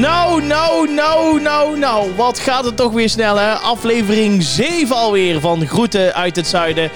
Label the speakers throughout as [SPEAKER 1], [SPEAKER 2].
[SPEAKER 1] Nou, nou, nou, nou, nou. Wat gaat het toch weer snel, hè? Aflevering 7 alweer van Groeten uit het Zuiden.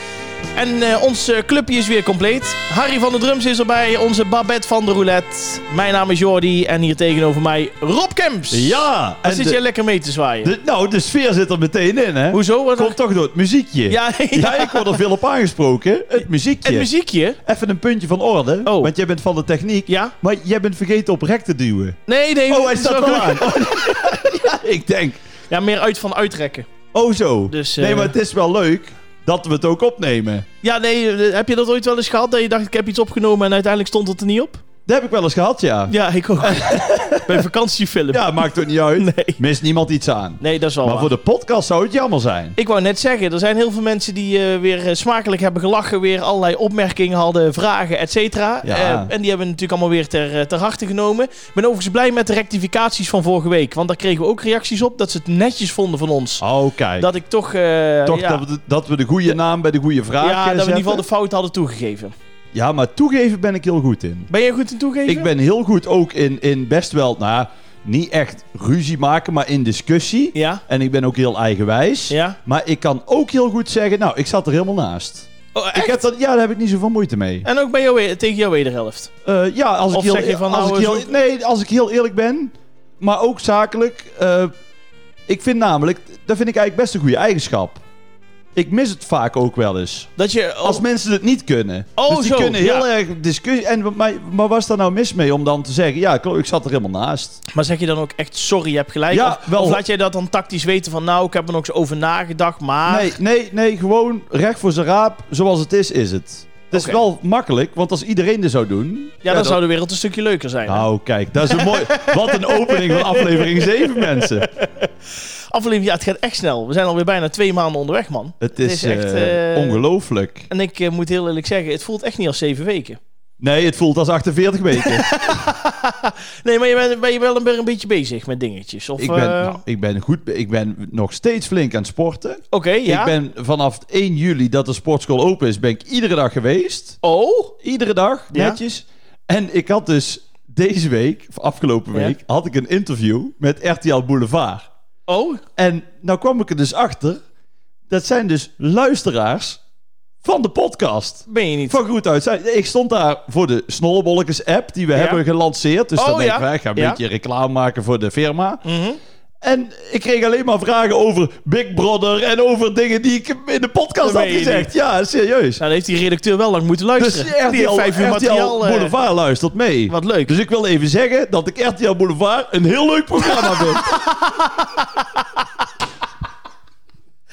[SPEAKER 1] En eh, ons eh, clubje is weer compleet. Harry van de Drums is erbij, onze Babette van de Roulette. Mijn naam is Jordi en hier tegenover mij Rob Kemps.
[SPEAKER 2] Ja,
[SPEAKER 1] Daar
[SPEAKER 2] en
[SPEAKER 1] zit
[SPEAKER 2] de-
[SPEAKER 1] jij lekker mee te zwaaien.
[SPEAKER 2] de- nou, de sfeer zit er meteen in, hè?
[SPEAKER 1] Hoezo? Wat
[SPEAKER 2] Komt toch door het muziekje?
[SPEAKER 1] Ja,
[SPEAKER 2] Ja, ik word er veel op aangesproken. Het muziekje.
[SPEAKER 1] het muziekje?
[SPEAKER 2] Even een puntje van orde,
[SPEAKER 1] Oh.
[SPEAKER 2] want jij bent van de techniek.
[SPEAKER 1] Ja?
[SPEAKER 2] Maar jij bent vergeten op rek te duwen.
[SPEAKER 1] Nee, nee.
[SPEAKER 2] Oh, hij
[SPEAKER 1] het is
[SPEAKER 2] staat
[SPEAKER 1] wel-
[SPEAKER 2] wel aan. ja, ik denk,
[SPEAKER 1] Ja, meer uit van uitrekken.
[SPEAKER 2] oh zo.
[SPEAKER 1] Dus, eh,
[SPEAKER 2] Nee, maar het is wel leuk dat we het ook opnemen.
[SPEAKER 1] Ja, nee. eh, Heb je dat ooit wel eens gehad? Dat je dacht, ik heb iets opgenomen en uiteindelijk stond het er niet op?
[SPEAKER 2] Dat heb ik wel eens gehad, ja.
[SPEAKER 1] Ja, ik ook. Bij vakantiefilm.
[SPEAKER 2] Ja, maakt ook niet uit.
[SPEAKER 1] Nee. Oh,
[SPEAKER 2] Mist niemand iets aan.
[SPEAKER 1] Nee, dat is wel
[SPEAKER 2] Maar
[SPEAKER 1] waar.
[SPEAKER 2] voor de podcast zou het jammer zijn.
[SPEAKER 1] Ik wou net zeggen, er zijn heel veel mensen die eh, weer eh, smakelijk hebben gelachen, weer allerlei opmerkingen hadden, vragen, et cetera.
[SPEAKER 2] Ja.
[SPEAKER 1] Eh, en die hebben natuurlijk allemaal weer ter, eh, ter harte genomen. Ik ben overigens blij met de rectificaties van vorige week, want daar kregen we ook reacties op dat ze het netjes vonden van ons.
[SPEAKER 2] Oh, kijk.
[SPEAKER 1] Dat ik toch, eh,
[SPEAKER 2] Toch
[SPEAKER 1] ja,
[SPEAKER 2] dat, we de, dat we de goede naam bij de goede vraag
[SPEAKER 1] ja, dat we
[SPEAKER 2] eh,
[SPEAKER 1] in ieder geval de
[SPEAKER 2] zetten.
[SPEAKER 1] fout hadden toegegeven.
[SPEAKER 2] Ja, maar toegeven ben ik heel goed in.
[SPEAKER 1] Ben jij goed in toegeven?
[SPEAKER 2] Ik ben heel goed ook in, in best wel, nou, niet echt ruzie maken, maar in discussie.
[SPEAKER 1] Ja?
[SPEAKER 2] En ik ben ook heel eigenwijs.
[SPEAKER 1] Ja?
[SPEAKER 2] Maar ik kan ook heel goed zeggen, nou, ik zat er helemaal naast.
[SPEAKER 1] Oh, echt?
[SPEAKER 2] Ik heb dat, ja, daar heb ik niet zoveel moeite mee.
[SPEAKER 1] En ook bij jou, tegen jouw wederhelft.
[SPEAKER 2] Eh, ja, als
[SPEAKER 1] Of
[SPEAKER 2] ik heel,
[SPEAKER 1] zeg je van,
[SPEAKER 2] als
[SPEAKER 1] nou,
[SPEAKER 2] ik heel,
[SPEAKER 1] zo-
[SPEAKER 2] nee, als ik heel eerlijk ben, maar ook zakelijk. eh, ik vind namelijk, dat vind ik eigenlijk best een goede eigenschap. Ik mis het vaak ook wel eens.
[SPEAKER 1] Dat je...
[SPEAKER 2] Als mensen het niet kunnen.
[SPEAKER 1] Oh,
[SPEAKER 2] dus die
[SPEAKER 1] zo,
[SPEAKER 2] kunnen heel
[SPEAKER 1] ja.
[SPEAKER 2] erg discussie. En, maar, maar was daar nou mis mee om dan te zeggen, ja, klopt, ik zat er helemaal naast.
[SPEAKER 1] Maar zeg je dan ook echt sorry, je hebt gelijk?
[SPEAKER 2] Ja,
[SPEAKER 1] of,
[SPEAKER 2] wel.
[SPEAKER 1] of laat jij dat dan tactisch weten van nou, ik heb er nog eens over nagedacht, maar...
[SPEAKER 2] Nee, nee, nee, gewoon recht voor zijn raap, zoals het is, is het. Het is
[SPEAKER 1] Oké.
[SPEAKER 2] wel makkelijk, want als iedereen dit zou doen...
[SPEAKER 1] Ja, dan zou de wereld een stukje leuker zijn. hè?
[SPEAKER 2] Nou, kijk, dat is een mooi... Wat een opening van aflevering 7, mensen.
[SPEAKER 1] Aflevering, ja, het gaat echt snel. We zijn alweer bijna twee maanden onderweg, man.
[SPEAKER 2] Het is,
[SPEAKER 1] is echt,
[SPEAKER 2] eh,
[SPEAKER 1] eh,
[SPEAKER 2] ongelooflijk.
[SPEAKER 1] En ik eh, moet heel eerlijk zeggen, het voelt echt niet als zeven weken.
[SPEAKER 2] Nee, het voelt als 48 weken.
[SPEAKER 1] Nee, maar je bent, ben je wel een, weer een beetje bezig met dingetjes? Of,
[SPEAKER 2] ik, ben,
[SPEAKER 1] eh,
[SPEAKER 2] nou, ik ben goed... be- Ik ben nog steeds flink aan het sporten.
[SPEAKER 1] Oké, ja.
[SPEAKER 2] Ik ben vanaf 1 juli dat de sportschool open is, ben ik iedere dag geweest.
[SPEAKER 1] Oh?
[SPEAKER 2] Iedere dag,
[SPEAKER 1] Ja.
[SPEAKER 2] netjes. En ik had dus deze week, of afgelopen
[SPEAKER 1] Ja.
[SPEAKER 2] week, had ik een interview met RTL Boulevard.
[SPEAKER 1] Oh?
[SPEAKER 2] En nou kwam ik er dus achter, dat zijn dus luisteraars van de podcast.
[SPEAKER 1] Ben je niet?
[SPEAKER 2] Van goed uit. Zijn. Ik stond daar voor de Snollebolkens app die we
[SPEAKER 1] Ja.
[SPEAKER 2] hebben gelanceerd. Dus
[SPEAKER 1] Oh,
[SPEAKER 2] dan denk
[SPEAKER 1] ja.
[SPEAKER 2] ik, wij gaan een
[SPEAKER 1] Ja.
[SPEAKER 2] beetje reclame maken voor de firma.
[SPEAKER 1] Mhm.
[SPEAKER 2] En ik kreeg alleen maar vragen over Big Brother en over dingen die ik in de podcast
[SPEAKER 1] Dat meen
[SPEAKER 2] had
[SPEAKER 1] je
[SPEAKER 2] gezegd. Ja, serieus.
[SPEAKER 1] Nou, dan heeft die redacteur wel lang moeten
[SPEAKER 2] Dus
[SPEAKER 1] luisteren. die
[SPEAKER 2] RTL,
[SPEAKER 1] heeft vijf uur
[SPEAKER 2] RTL
[SPEAKER 1] materiaal. eh,
[SPEAKER 2] Boulevard luistert mee.
[SPEAKER 1] wat leuk.
[SPEAKER 2] Dus ik wil even zeggen dat ik RTL Boulevard een heel leuk programma vind.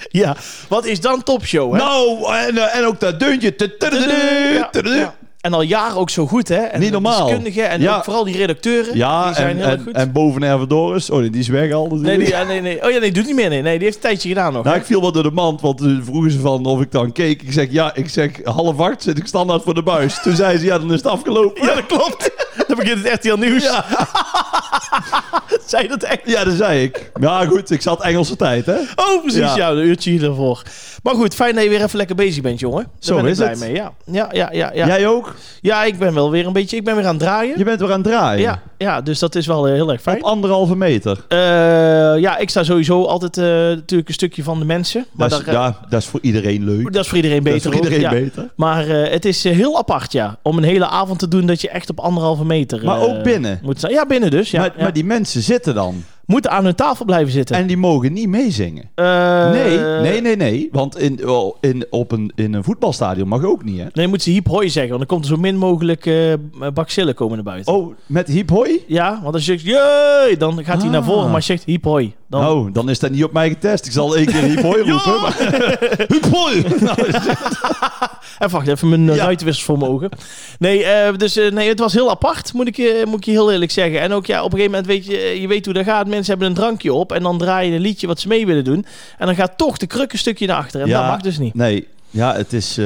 [SPEAKER 1] ja. Wat is dan topshow, hè?
[SPEAKER 2] nou, en, eh, en ook dat deuntje. Tududu,
[SPEAKER 1] Ja,
[SPEAKER 2] tududu.
[SPEAKER 1] ja. En al jaren ook zo goed, hè? En
[SPEAKER 2] Niet normaal.
[SPEAKER 1] de Deskundigen en
[SPEAKER 2] Ja.
[SPEAKER 1] ook vooral die redacteuren.
[SPEAKER 2] Ja,
[SPEAKER 1] die zijn
[SPEAKER 2] en,
[SPEAKER 1] heel erg
[SPEAKER 2] en,
[SPEAKER 1] goed.
[SPEAKER 2] en boven Ervedoris. Oh, nee, die is weg al. natuurlijk.
[SPEAKER 1] nee, die, ja, nee, nee. Oh ja, nee, doet niet meer. Nee, nee die heeft een tijdje gedaan nog.
[SPEAKER 2] Nou, ik viel wel door de mand, want toen vroegen ze van of ik dan keek. Ik zeg, ja, ik zeg, half acht zit ik standaard voor de buis. Toen zei ze, ja, dan is het afgelopen.
[SPEAKER 1] Ja, dat klopt. Dan begint het RTL Nieuws. Ja. Zei dat echt?
[SPEAKER 2] Ja, dat zei ik. Ja, goed, ik zat Engelse tijd, hè.
[SPEAKER 1] Oh, precies. Ja,
[SPEAKER 2] Ja.
[SPEAKER 1] een uurtje hiervoor. Maar goed, fijn dat je weer even lekker bezig bent, jongen. Daar
[SPEAKER 2] Zo
[SPEAKER 1] ben
[SPEAKER 2] is
[SPEAKER 1] ik blij
[SPEAKER 2] het.
[SPEAKER 1] mee. Ja. Ja, ja, ja, ja.
[SPEAKER 2] Jij ook?
[SPEAKER 1] ja, ik ben wel weer een beetje... Ik ben weer aan het draaien.
[SPEAKER 2] Je bent weer aan het draaien.
[SPEAKER 1] Ja, ja, dus dat is wel eh, heel erg fijn.
[SPEAKER 2] Op anderhalve meter.
[SPEAKER 1] Eh, ja, ik sta sowieso altijd eh, natuurlijk een stukje van de mensen. Maar
[SPEAKER 2] Dat is,
[SPEAKER 1] daar, eh,
[SPEAKER 2] ja, dat is voor iedereen leuk.
[SPEAKER 1] dat is voor iedereen
[SPEAKER 2] Dat
[SPEAKER 1] beter.
[SPEAKER 2] is voor
[SPEAKER 1] ook,
[SPEAKER 2] iedereen
[SPEAKER 1] ja.
[SPEAKER 2] beter.
[SPEAKER 1] Maar eh, het is eh, heel apart, ja. Om een hele avond te doen dat je echt op anderhalve meter...
[SPEAKER 2] Maar
[SPEAKER 1] eh,
[SPEAKER 2] ook binnen?
[SPEAKER 1] Moet staan. Ja, binnen dus. Ja,
[SPEAKER 2] maar,
[SPEAKER 1] ja.
[SPEAKER 2] maar die mensen zitten dan.
[SPEAKER 1] Moeten aan hun tafel blijven zitten.
[SPEAKER 2] En die mogen niet meezingen.
[SPEAKER 1] Eh,
[SPEAKER 2] Nee, nee, nee, nee. Want in, oh, in, op een, in een voetbalstadion mag ook niet, hè.
[SPEAKER 1] Nee, moet ze hiep hoi zeggen, want dan komt er zo min mogelijk eh bacillen komen naar buiten.
[SPEAKER 2] Oh, met hip hoi?
[SPEAKER 1] Ja, want als je zegt, jee, dan gaat hij
[SPEAKER 2] Ah.
[SPEAKER 1] naar voren, maar als je zegt hiep hoi, dan...
[SPEAKER 2] Nou, dan is dat niet op mij getest. Ik zal één keer hip hoi roepen. maar- Hip hoi! Nou,
[SPEAKER 1] En wacht, even mijn eh,
[SPEAKER 2] Ja.
[SPEAKER 1] ruitenwisselvermogen. Nee, eh, dus eh, nee, het was heel apart, moet ik, je- moet ik je heel eerlijk zeggen. En ook ja, op een gegeven moment weet je, je weet hoe dat gaat. Mensen hebben een drankje op en dan draai je een liedje wat ze mee willen doen. En dan gaat toch de kruk een stukje naar achteren. En
[SPEAKER 2] Nou, Ja.
[SPEAKER 1] dat mag dus niet.
[SPEAKER 2] Nee, ja, het is. eh,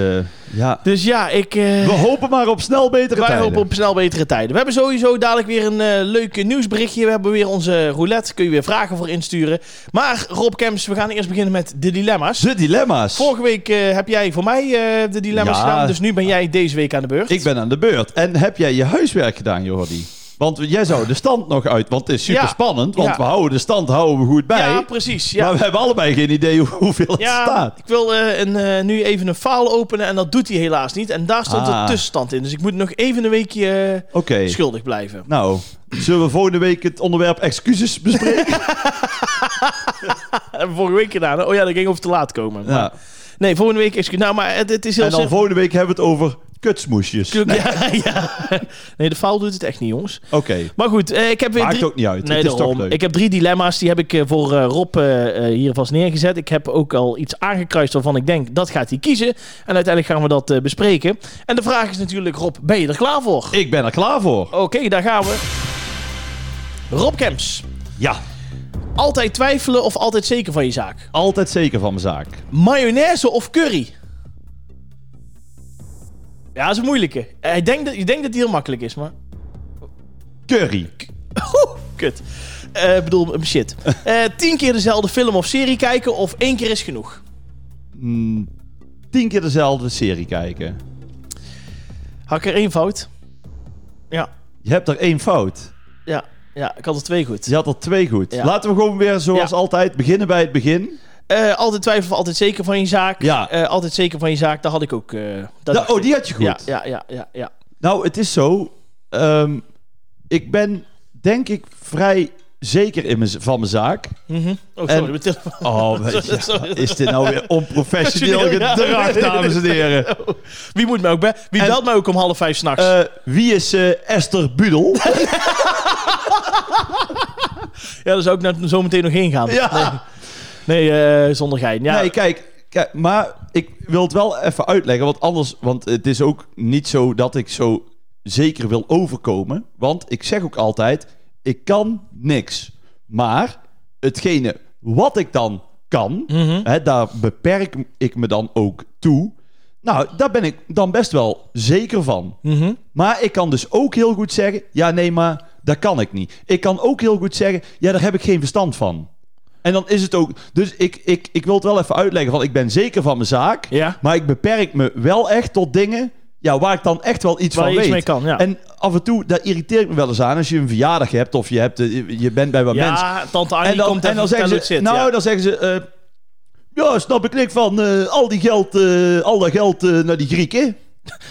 [SPEAKER 2] ja.
[SPEAKER 1] Dus ja, ik... eh,
[SPEAKER 2] We hopen maar op snel betere
[SPEAKER 1] Wij
[SPEAKER 2] tijden.
[SPEAKER 1] hopen op snel betere tijden. We hebben sowieso dadelijk weer een eh leuk nieuwsberichtje. We hebben weer onze roulette. Kun je weer vragen voor insturen. Maar Rob Kemps, we gaan eerst beginnen met de dilemma's.
[SPEAKER 2] De dilemma's.
[SPEAKER 1] Vorige week eh, heb jij voor mij eh, de dilemma's
[SPEAKER 2] Ja.
[SPEAKER 1] gedaan. Dus nu ben jij deze week aan de beurt.
[SPEAKER 2] Ik ben aan de beurt. En heb jij je huiswerk gedaan, Jordi? Want jij zou de stand nog uit. Want het is super
[SPEAKER 1] Ja.
[SPEAKER 2] spannend. Want
[SPEAKER 1] Ja.
[SPEAKER 2] we houden de stand houden we goed bij.
[SPEAKER 1] Ja, precies. Ja.
[SPEAKER 2] Maar we hebben allebei geen idee hoe- hoeveel het
[SPEAKER 1] Ja,
[SPEAKER 2] staat.
[SPEAKER 1] ik wil eh, een, eh, nu even een faal openen en dat doet hij helaas niet. En daar stond
[SPEAKER 2] Ah.
[SPEAKER 1] een tussenstand in. Dus ik moet nog even een weekje eh,
[SPEAKER 2] Oké.
[SPEAKER 1] schuldig blijven.
[SPEAKER 2] Nou, zullen we volgende week het onderwerp excuses bespreken?
[SPEAKER 1] Dat hebben we vorige week gedaan. hè? Oh ja, dat ging over te laat komen. Maar-
[SPEAKER 2] ja.
[SPEAKER 1] Nee, volgende week is... Nou, maar het, het is heel
[SPEAKER 2] En dan
[SPEAKER 1] simpel.
[SPEAKER 2] volgende week hebben we het over kutsmoesjes. Oké.
[SPEAKER 1] Ja, ja. Nee, de faal doet het echt niet, jongens. Maar goed, eh, ik heb weer
[SPEAKER 2] Maakt
[SPEAKER 1] drie...
[SPEAKER 2] ook niet uit.
[SPEAKER 1] Nee,
[SPEAKER 2] het is toch
[SPEAKER 1] daarom.
[SPEAKER 2] leuk.
[SPEAKER 1] Ik heb drie dilemma's. Die heb ik eh, voor eh, Rob eh, eh, hier vast neergezet. Ik heb ook al iets aangekruist waarvan ik denk, dat gaat hij kiezen. En uiteindelijk gaan we dat eh, bespreken. En de vraag is natuurlijk, Rob, ben je er klaar voor?
[SPEAKER 2] Ik ben er klaar voor.
[SPEAKER 1] Oké, daar gaan we. Rob Kemps.
[SPEAKER 2] Ja.
[SPEAKER 1] Altijd twijfelen of altijd zeker van je zaak?
[SPEAKER 2] Altijd zeker van mijn zaak.
[SPEAKER 1] Mayonaise of curry? Ja, dat is een moeilijke. Eh, Ik denk dat, ik denk dat die heel makkelijk is, maar...
[SPEAKER 2] Curry.
[SPEAKER 1] Oeh, kut. Eh, Ik bedoel, eh, shit. Eh, tien keer dezelfde film of serie kijken of één keer is genoeg?
[SPEAKER 2] Mm, tien keer dezelfde serie kijken.
[SPEAKER 1] Had ik er één fout? Ja,
[SPEAKER 2] Je hebt er één fout.
[SPEAKER 1] ja, ja. Ik had er twee goed.
[SPEAKER 2] Je had er twee goed.
[SPEAKER 1] Ja.
[SPEAKER 2] Laten we gewoon weer zoals
[SPEAKER 1] Ja.
[SPEAKER 2] altijd beginnen bij het begin.
[SPEAKER 1] Eh, altijd twijfelen of altijd zeker van je zaak?
[SPEAKER 2] Ja.
[SPEAKER 1] Eh, altijd zeker van je zaak, daar had ik ook... eh, dat
[SPEAKER 2] Da-
[SPEAKER 1] dacht
[SPEAKER 2] oh,
[SPEAKER 1] ik.
[SPEAKER 2] die had je goed.
[SPEAKER 1] Ja, ja, ja, ja, ja.
[SPEAKER 2] Nou, het is zo. ehm, ik ben denk ik vrij zeker in mijn, z- van mijn zaak.
[SPEAKER 1] Mhm. Oh,
[SPEAKER 2] En-
[SPEAKER 1] sorry, mijn telefoon.
[SPEAKER 2] Oh, ja,
[SPEAKER 1] sorry.
[SPEAKER 2] is dit nou weer onprofessioneel
[SPEAKER 1] Professioneel, ja.
[SPEAKER 2] gedrag, dames en heren.
[SPEAKER 1] Wie moet mij ook bij? Wie
[SPEAKER 2] En-
[SPEAKER 1] belt mij ook om half vijf s'nachts?
[SPEAKER 2] Eh, wie is eh, Esther Budel?
[SPEAKER 1] ja, daar zou ik nou zo meteen nog heen gaan.
[SPEAKER 2] ja.
[SPEAKER 1] Nee, eh, zonder gein. Ja,
[SPEAKER 2] Nee, kijk, kijk, maar ik wil het wel even uitleggen, want anders, want het is ook niet zo dat ik zo zeker wil overkomen, want ik zeg ook altijd, ik kan niks, maar hetgene wat ik dan kan, hè, daar beperk ik me dan ook toe. Nou, daar ben ik dan best wel zeker van.
[SPEAKER 1] Mhm.
[SPEAKER 2] Maar ik kan dus ook heel goed zeggen: ja, nee, maar dat kan ik niet. Ik kan ook heel goed zeggen: ja, daar heb ik geen verstand van. En dan is het ook. Dus ik, ik, ik wil het wel even uitleggen: van ik ben zeker van mijn zaak.
[SPEAKER 1] ja.
[SPEAKER 2] Maar ik beperk me wel echt tot dingen. Ja, waar ik dan echt wel iets
[SPEAKER 1] Waar
[SPEAKER 2] van
[SPEAKER 1] je iets
[SPEAKER 2] weet.
[SPEAKER 1] mee kan, ja.
[SPEAKER 2] En af en toe, daar irriteer ik me wel eens aan. Als je een verjaardag hebt of je, hebt, eh, je bent bij wat mensen.
[SPEAKER 1] ja tante Annie
[SPEAKER 2] En dan,
[SPEAKER 1] komt
[SPEAKER 2] en dan
[SPEAKER 1] even
[SPEAKER 2] zeggen ze,
[SPEAKER 1] vertellen hoe het zit.
[SPEAKER 2] nou,
[SPEAKER 1] ja.
[SPEAKER 2] dan zeggen ze, eh, ja, snap ik niks van eh, al die geld, eh, al dat geld eh, naar die Grieken.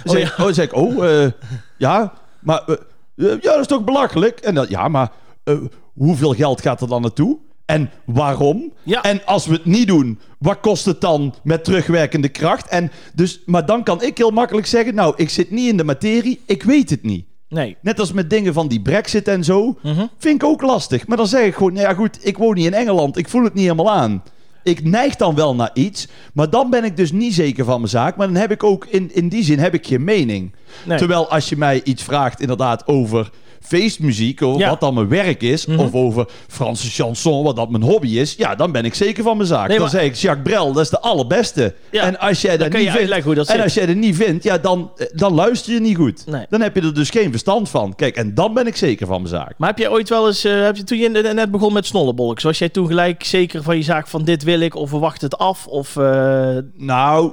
[SPEAKER 2] Dan zeg, ik- oh, dan zeg ik, oh, eh, ja, maar eh, eh, ja, dat is toch belachelijk? En dan, ja, maar eh, hoeveel geld gaat er dan naartoe? En waarom?
[SPEAKER 1] Ja.
[SPEAKER 2] En als we het niet doen, wat kost het dan met terugwerkende kracht? En dus, maar dan kan ik heel makkelijk zeggen, nou, ik zit niet in de materie, ik weet het niet.
[SPEAKER 1] Nee.
[SPEAKER 2] Net als met dingen van die brexit en zo.
[SPEAKER 1] Mhm.
[SPEAKER 2] Vind ik ook lastig. Maar dan zeg ik gewoon, nou ja goed, ik woon niet in Engeland. Ik voel het niet helemaal aan. Ik neig dan wel naar iets. Maar dan ben ik dus niet zeker van mijn zaak. Maar dan heb ik ook, in, in die zin heb ik geen mening.
[SPEAKER 1] Nee.
[SPEAKER 2] Terwijl als je mij iets vraagt inderdaad over feestmuziek. Of
[SPEAKER 1] Ja. Mhm.
[SPEAKER 2] wat dan mijn werk is. Of over Franse chanson, wat dat mijn hobby is. Ja, dan ben ik zeker van mijn zaak.
[SPEAKER 1] Nee,
[SPEAKER 2] dan
[SPEAKER 1] maar-
[SPEAKER 2] zeg ik, Jacques Brel, dat is de allerbeste.
[SPEAKER 1] Ja.
[SPEAKER 2] En als jij dat
[SPEAKER 1] kan
[SPEAKER 2] niet
[SPEAKER 1] je
[SPEAKER 2] vindt...
[SPEAKER 1] uitleggen hoe dat
[SPEAKER 2] en
[SPEAKER 1] zit.
[SPEAKER 2] als jij dat niet vindt, ja, dan, eh, dan luister je niet goed.
[SPEAKER 1] Nee.
[SPEAKER 2] Dan heb je er dus geen verstand van. Kijk, en dan ben ik zeker van mijn zaak.
[SPEAKER 1] Maar heb jij ooit wel eens, eh, heb je, toen je net begon met snollebolk, was jij toen gelijk zeker van je zaak van dit wil ik of we wachten het af? Of, eh,
[SPEAKER 2] Nou,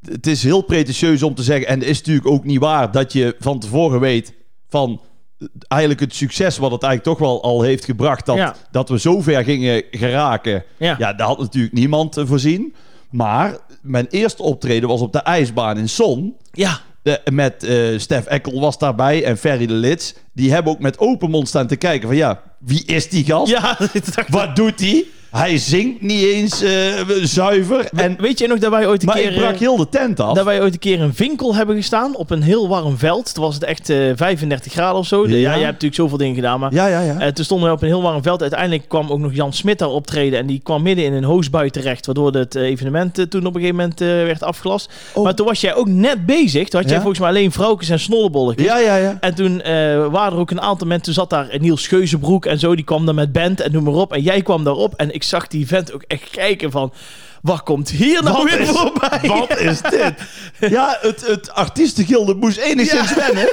[SPEAKER 2] d- het is heel pretentieus om te zeggen. En het is natuurlijk ook niet waar dat je van tevoren weet van eh, eigenlijk het succes wat het eigenlijk toch wel al heeft gebracht. Dat,
[SPEAKER 1] Ja.
[SPEAKER 2] dat we zover gingen geraken.
[SPEAKER 1] ja.
[SPEAKER 2] Ja, daar had natuurlijk niemand eh, voorzien. Maar mijn eerste optreden was op de ijsbaan in Son.
[SPEAKER 1] Ja.
[SPEAKER 2] De- met eh, Stef Eckel was daarbij en Ferry de Lits. Die hebben ook met open mond staan te kijken van ja, wie is die gast?
[SPEAKER 1] Ja, dat dacht ik.
[SPEAKER 2] Wat doet hij? Hij zingt niet eens eh, zuiver. En,
[SPEAKER 1] Weet je nog dat wij ooit een
[SPEAKER 2] maar
[SPEAKER 1] keer...
[SPEAKER 2] ik brak
[SPEAKER 1] eh,
[SPEAKER 2] heel de tent af.
[SPEAKER 1] Dat wij ooit een keer in winkel hebben gestaan op een heel warm veld. Toen was het echt eh, 35 graden of zo. De-
[SPEAKER 2] Ja.
[SPEAKER 1] ja. jij hebt natuurlijk zoveel dingen gedaan, maar...
[SPEAKER 2] Ja, ja, ja.
[SPEAKER 1] Eh, toen stonden we op een heel warm veld. Uiteindelijk kwam ook nog Jan Smit daar optreden. En die kwam midden in een hoosbui terecht. Waardoor het eh, evenement eh, toen op een gegeven moment eh, werd afgelast.
[SPEAKER 2] Oh.
[SPEAKER 1] Maar toen was jij ook net bezig. Toen had jij
[SPEAKER 2] Ja?
[SPEAKER 1] volgens mij alleen vrouwtjes en snollebolletjes.
[SPEAKER 2] ja, ja, ja.
[SPEAKER 1] En toen eh, waren er ook een aantal mensen. Toen zat daar eh, Niels Geuzenbroek en zo. Die kwam daar met band en noem maar op. En jij kwam daarop. En ik zag die vent ook echt kijken van... Wat komt hier nou
[SPEAKER 2] Wat
[SPEAKER 1] weer
[SPEAKER 2] is-
[SPEAKER 1] voorbij?
[SPEAKER 2] Dus Wat is dit? Ja, het, het artiestengilde moest enigszins wennen.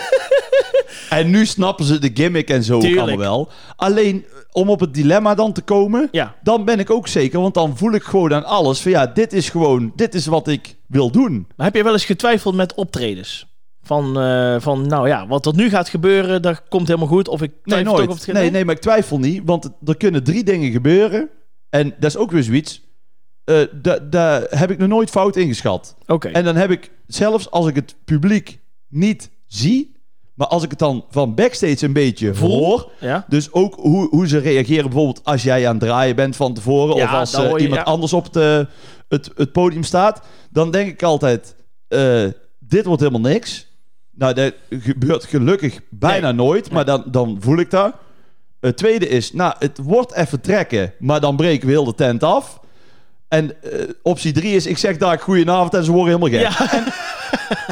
[SPEAKER 2] En nu snappen ze de gimmick en zo ook
[SPEAKER 1] Tuurlijk.
[SPEAKER 2] allemaal wel. Alleen eh, om op het dilemma dan te komen,
[SPEAKER 1] Ja.
[SPEAKER 2] dan ben ik ook zeker. Want dan voel ik gewoon aan alles van ja, dit is gewoon, dit is wat ik wil doen.
[SPEAKER 1] Maar heb je wel eens getwijfeld met optredens? Van, eh, van, nou ja, wat er nu gaat gebeuren, dat komt helemaal goed. Of ik
[SPEAKER 2] Nee,
[SPEAKER 1] twijfel
[SPEAKER 2] nooit.
[SPEAKER 1] toch of het
[SPEAKER 2] nee, nee, maar ik twijfel niet. Want het- er kunnen drie dingen gebeuren. En dat is ook weer zoiets. Eh, da- Daar heb ik nog nooit fout ingeschat.
[SPEAKER 1] Oké.
[SPEAKER 2] En dan heb ik, zelfs als ik het publiek niet zie... maar als ik het dan van backstage een beetje
[SPEAKER 1] Voel.
[SPEAKER 2] hoor...
[SPEAKER 1] Ja?
[SPEAKER 2] dus ook hoe, hoe ze reageren bijvoorbeeld als jij aan het draaien bent van tevoren...
[SPEAKER 1] Ja,
[SPEAKER 2] of als
[SPEAKER 1] dan
[SPEAKER 2] eh,
[SPEAKER 1] hoor je-
[SPEAKER 2] iemand
[SPEAKER 1] ja.
[SPEAKER 2] anders op de, het, het podium staat... dan denk ik altijd, eh, dit wordt helemaal niks. Nou, dat gebeurt gelukkig bijna nooit, maar dan, dan voel ik dat. Het tweede is, nou, het wordt even trekken, maar dan breken we heel de tent af. En eh, optie drie is, ik zeg daar goedenavond en ze worden helemaal gek.
[SPEAKER 1] Ja.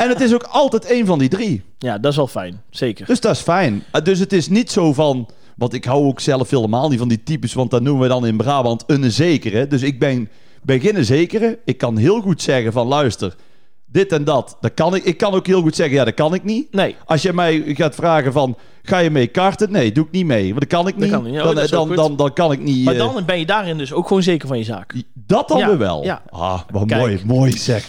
[SPEAKER 2] En het is ook altijd één van die drie.
[SPEAKER 1] ja, dat is wel fijn. Zeker.
[SPEAKER 2] Dus dat is fijn. Eh, Dus het is niet zo van. Want ik hou ook zelf helemaal niet van die types. Want dat noemen we dan in Brabant een zekere. Dus ik ben, ben geen zekere. Ik kan heel goed zeggen van luister. Dit en dat. Dat kan ik. Ik kan ook heel goed zeggen. Ja, dat kan ik niet.
[SPEAKER 1] Nee.
[SPEAKER 2] Als je mij gaat vragen van. Ga je mee karten? Nee, doe ik niet mee. Want dat kan ik niet.
[SPEAKER 1] kan niet. Oh,
[SPEAKER 2] Dan,
[SPEAKER 1] dat
[SPEAKER 2] dan,
[SPEAKER 1] is ook
[SPEAKER 2] dan,
[SPEAKER 1] goed.
[SPEAKER 2] dan, kan ik niet.
[SPEAKER 1] Maar
[SPEAKER 2] eh,
[SPEAKER 1] dan ben je daarin dus ook gewoon zeker van je zaak.
[SPEAKER 2] dat dan
[SPEAKER 1] Ja,
[SPEAKER 2] weer wel.
[SPEAKER 1] ja.
[SPEAKER 2] Ah, wat
[SPEAKER 1] Kijk.
[SPEAKER 2] mooi. Mooi zeg.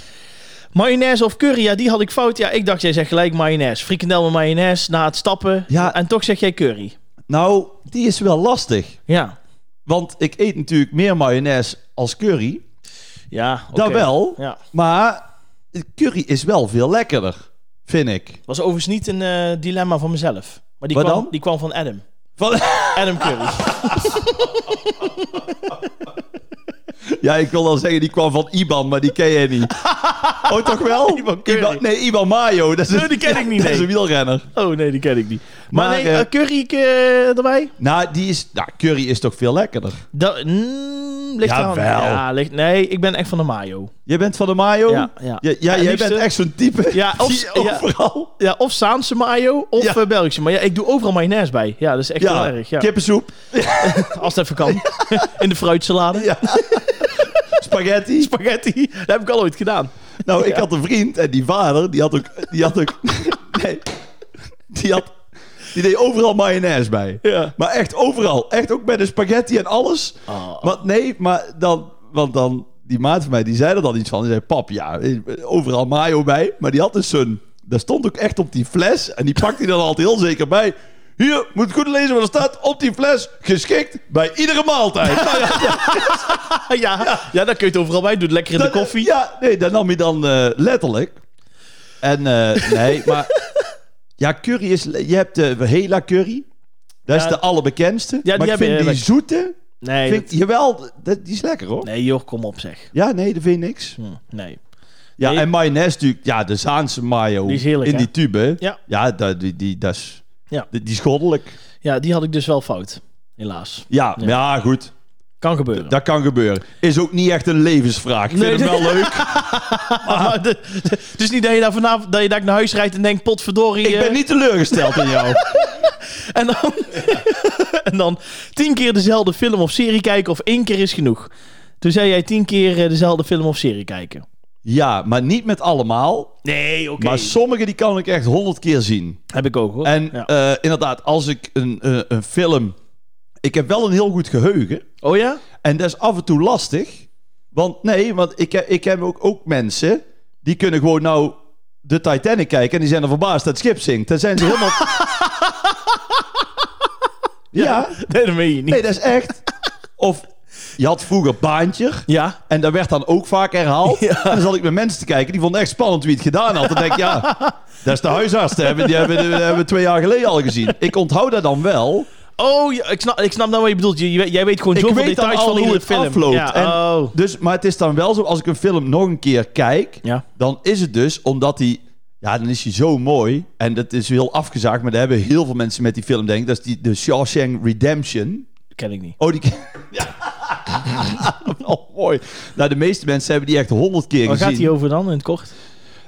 [SPEAKER 1] Mayonaise of curry, ja, die had ik fout. Ja, ik dacht, jij zegt gelijk mayonaise. Frikandel met mayonaise na het stappen.
[SPEAKER 2] Ja.
[SPEAKER 1] En toch zeg jij curry.
[SPEAKER 2] Nou, die is wel lastig.
[SPEAKER 1] Ja.
[SPEAKER 2] Want ik eet natuurlijk meer mayonaise als curry.
[SPEAKER 1] Ja, oké.
[SPEAKER 2] Dat nou wel.
[SPEAKER 1] Ja.
[SPEAKER 2] Maar curry is wel veel lekkerder, vind ik.
[SPEAKER 1] Was overigens niet een eh, dilemma van mezelf. Maar die
[SPEAKER 2] Wat
[SPEAKER 1] kwam,
[SPEAKER 2] dan?
[SPEAKER 1] die kwam van Adam.
[SPEAKER 2] Van-
[SPEAKER 1] Adam Curry.
[SPEAKER 2] ja, ik wil dan zeggen, die kwam van Iban, maar die ken jij niet. Oh, toch wel? Iban
[SPEAKER 1] Curry.
[SPEAKER 2] nee, Iban Mayo. Dat is,
[SPEAKER 1] Nee, die ken ik niet,
[SPEAKER 2] Dat is
[SPEAKER 1] nee.
[SPEAKER 2] een wielrenner.
[SPEAKER 1] Oh nee, die ken ik niet. Maar,
[SPEAKER 2] Maar,
[SPEAKER 1] nee,
[SPEAKER 2] eh,
[SPEAKER 1] eh, curry eh, erbij?
[SPEAKER 2] Nou, die is, nou, curry is toch veel lekkerder.
[SPEAKER 1] Dat, mm, ligt eraan.
[SPEAKER 2] Jawel.
[SPEAKER 1] Ja, ligt, nee, ik ben echt van de mayo.
[SPEAKER 2] Jij bent van de Mayo?
[SPEAKER 1] Ja, ja.
[SPEAKER 2] ja, ja,
[SPEAKER 1] Ja,
[SPEAKER 2] jij
[SPEAKER 1] liefste.
[SPEAKER 2] bent echt zo'n type
[SPEAKER 1] Ja, of-
[SPEAKER 2] die
[SPEAKER 1] ja.
[SPEAKER 2] overal...
[SPEAKER 1] Ja, of Saanse mayo of
[SPEAKER 2] Ja.
[SPEAKER 1] eh, Belgische. Maar ja, ik doe overal mayonaise bij. Ja, dat is echt
[SPEAKER 2] Ja,
[SPEAKER 1] heel erg. Ja.
[SPEAKER 2] kippensoep,
[SPEAKER 1] Als het even kan. In de fruitsalade.
[SPEAKER 2] Ja. spaghetti.
[SPEAKER 1] Spaghetti. Dat heb ik al ooit gedaan.
[SPEAKER 2] Nou, ik
[SPEAKER 1] Ja.
[SPEAKER 2] had een vriend en die vader, die had ook... Die had ook... nee. Die had... Die deed overal mayonaise bij.
[SPEAKER 1] Ja.
[SPEAKER 2] Maar echt overal. Echt ook bij de spaghetti en alles.
[SPEAKER 1] Oh.
[SPEAKER 2] Maar nee, maar dan... Want dan... Die maat van mij, die zei er dan iets van. Die zei, pap, ja, overal mayo bij. Maar die had dus zo'n... Daar stond ook echt op die fles. En die pakte hij dan altijd heel zeker bij. Hier, moet goed lezen wat er staat op die fles. Geschikt bij iedere maaltijd. Nou ja,
[SPEAKER 1] Ah, ja. Ja. dat kun je het overal bij. Doe het lekker in de
[SPEAKER 2] dat-
[SPEAKER 1] koffie.
[SPEAKER 2] Ja, nee, dat nam hij dan eh, letterlijk. En eh, nee, maar... Ja, curry is... Je hebt de Hela curry. Dat is
[SPEAKER 1] Ja.
[SPEAKER 2] de allerbekendste.
[SPEAKER 1] die
[SPEAKER 2] maar ik
[SPEAKER 1] heb
[SPEAKER 2] vind
[SPEAKER 1] je
[SPEAKER 2] die
[SPEAKER 1] lekker.
[SPEAKER 2] zoete...
[SPEAKER 1] Nee,
[SPEAKER 2] Vind,
[SPEAKER 1] dat-
[SPEAKER 2] Jawel, dat, die is lekker hoor.
[SPEAKER 1] nee joh, kom op zeg.
[SPEAKER 2] Ja, nee, dat vind ik niks.
[SPEAKER 1] Hm, nee.
[SPEAKER 2] Ja,
[SPEAKER 1] Nee.
[SPEAKER 2] en mayonaise natuurlijk. Ja, de Zaanse mayo.
[SPEAKER 1] Die is heerlijk,
[SPEAKER 2] In
[SPEAKER 1] hè?
[SPEAKER 2] die tube.
[SPEAKER 1] Ja.
[SPEAKER 2] Ja, dat, die, die, dat is...
[SPEAKER 1] Ja.
[SPEAKER 2] Die, die is goddelijk.
[SPEAKER 1] Ja, die had ik dus wel fout. Helaas.
[SPEAKER 2] Ja, ja. goed.
[SPEAKER 1] Kan gebeuren.
[SPEAKER 2] Dat kan gebeuren. Is ook niet echt een levensvraag. Ik
[SPEAKER 1] Nee,
[SPEAKER 2] vind het wel leuk.
[SPEAKER 1] Maar
[SPEAKER 2] Ah.
[SPEAKER 1] de- de- het is niet dat je daar vanavond dat je daar naar huis rijdt en denkt, potverdorie.
[SPEAKER 2] Ik
[SPEAKER 1] eh,
[SPEAKER 2] ben niet teleurgesteld in jou.
[SPEAKER 1] En dan, en dan tien keer dezelfde film of serie kijken of één keer is genoeg. Toen zei jij tien keer eh, dezelfde film of serie kijken.
[SPEAKER 2] Ja, maar niet met allemaal.
[SPEAKER 1] Nee, oké.
[SPEAKER 2] Maar sommige die kan ik echt honderd keer zien.
[SPEAKER 1] Heb ik ook hoor.
[SPEAKER 2] En
[SPEAKER 1] Ja.
[SPEAKER 2] eh, inderdaad, als ik een, eh, een film... Ik heb wel een heel goed geheugen.
[SPEAKER 1] oh ja?
[SPEAKER 2] En dat is af en toe lastig. Want nee, want ik heb, ik heb ook, ook mensen... die kunnen gewoon nou de Titanic kijken... en die zijn er verbaasd dat het schip zinkt. Dan zijn ze helemaal... ja,
[SPEAKER 1] Nee, dat meen je niet.
[SPEAKER 2] nee, dat is echt. Of je had vroeger Baantje...
[SPEAKER 1] Ja.
[SPEAKER 2] En dat werd dan ook vaak herhaald. En dan zat ik met mensen te kijken, die vonden echt spannend wie het gedaan had. Dan denk ik, ja, dat is de huisarts. Die hebben, die hebben, die hebben we twee jaar geleden al gezien. Ik onthoud dat dan wel.
[SPEAKER 1] Oh, ja, ik, snap, ik snap nou wat je bedoelt. Je- je- jij weet gewoon
[SPEAKER 2] Ik
[SPEAKER 1] zoveel
[SPEAKER 2] weet dan
[SPEAKER 1] details
[SPEAKER 2] al
[SPEAKER 1] van
[SPEAKER 2] hoe
[SPEAKER 1] iedere
[SPEAKER 2] het
[SPEAKER 1] film.
[SPEAKER 2] afloopt.
[SPEAKER 1] Ja,
[SPEAKER 2] En-
[SPEAKER 1] oh.
[SPEAKER 2] Dus, maar het is dan wel zo, als ik een film nog een keer kijk,
[SPEAKER 1] ja.
[SPEAKER 2] dan is het dus omdat die... Ja, dan is hij zo mooi. En dat is heel afgezaagd, maar daar hebben heel veel mensen met die film, denk ik. Dat is die, de Shawshank Redemption.
[SPEAKER 1] ken ik niet.
[SPEAKER 2] Oh, die... Ja, wel mooi. Nou, de meeste mensen hebben die echt honderd keer
[SPEAKER 1] Waar
[SPEAKER 2] gezien.
[SPEAKER 1] gaat die over dan in het kort?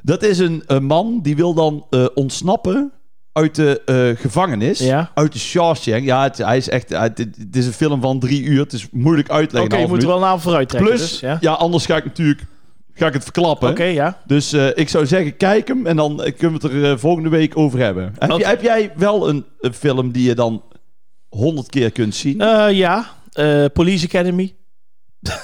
[SPEAKER 2] Dat is een, een man die wil dan eh, ontsnappen uit de eh, gevangenis.
[SPEAKER 1] Ja.
[SPEAKER 2] Uit de Shawshank. Ja, het, hij is echt, hij- het, het is een film van drie uur. Het is moeilijk
[SPEAKER 1] Oké,
[SPEAKER 2] uitleggen.
[SPEAKER 1] je
[SPEAKER 2] een half
[SPEAKER 1] moet er
[SPEAKER 2] minuut.
[SPEAKER 1] wel een avond vooruit trekken.
[SPEAKER 2] Plus,
[SPEAKER 1] dus, ja.
[SPEAKER 2] ja. anders ga ik natuurlijk ga ik het verklappen.
[SPEAKER 1] Oké, ja.
[SPEAKER 2] Dus eh, ik zou zeggen, kijk hem en dan eh, kunnen we het er eh, volgende week over hebben. Heb,
[SPEAKER 1] Oké.
[SPEAKER 2] je- heb jij wel een, een film die je dan honderd keer kunt zien?
[SPEAKER 1] Eh, ja. Eh, Police Academy.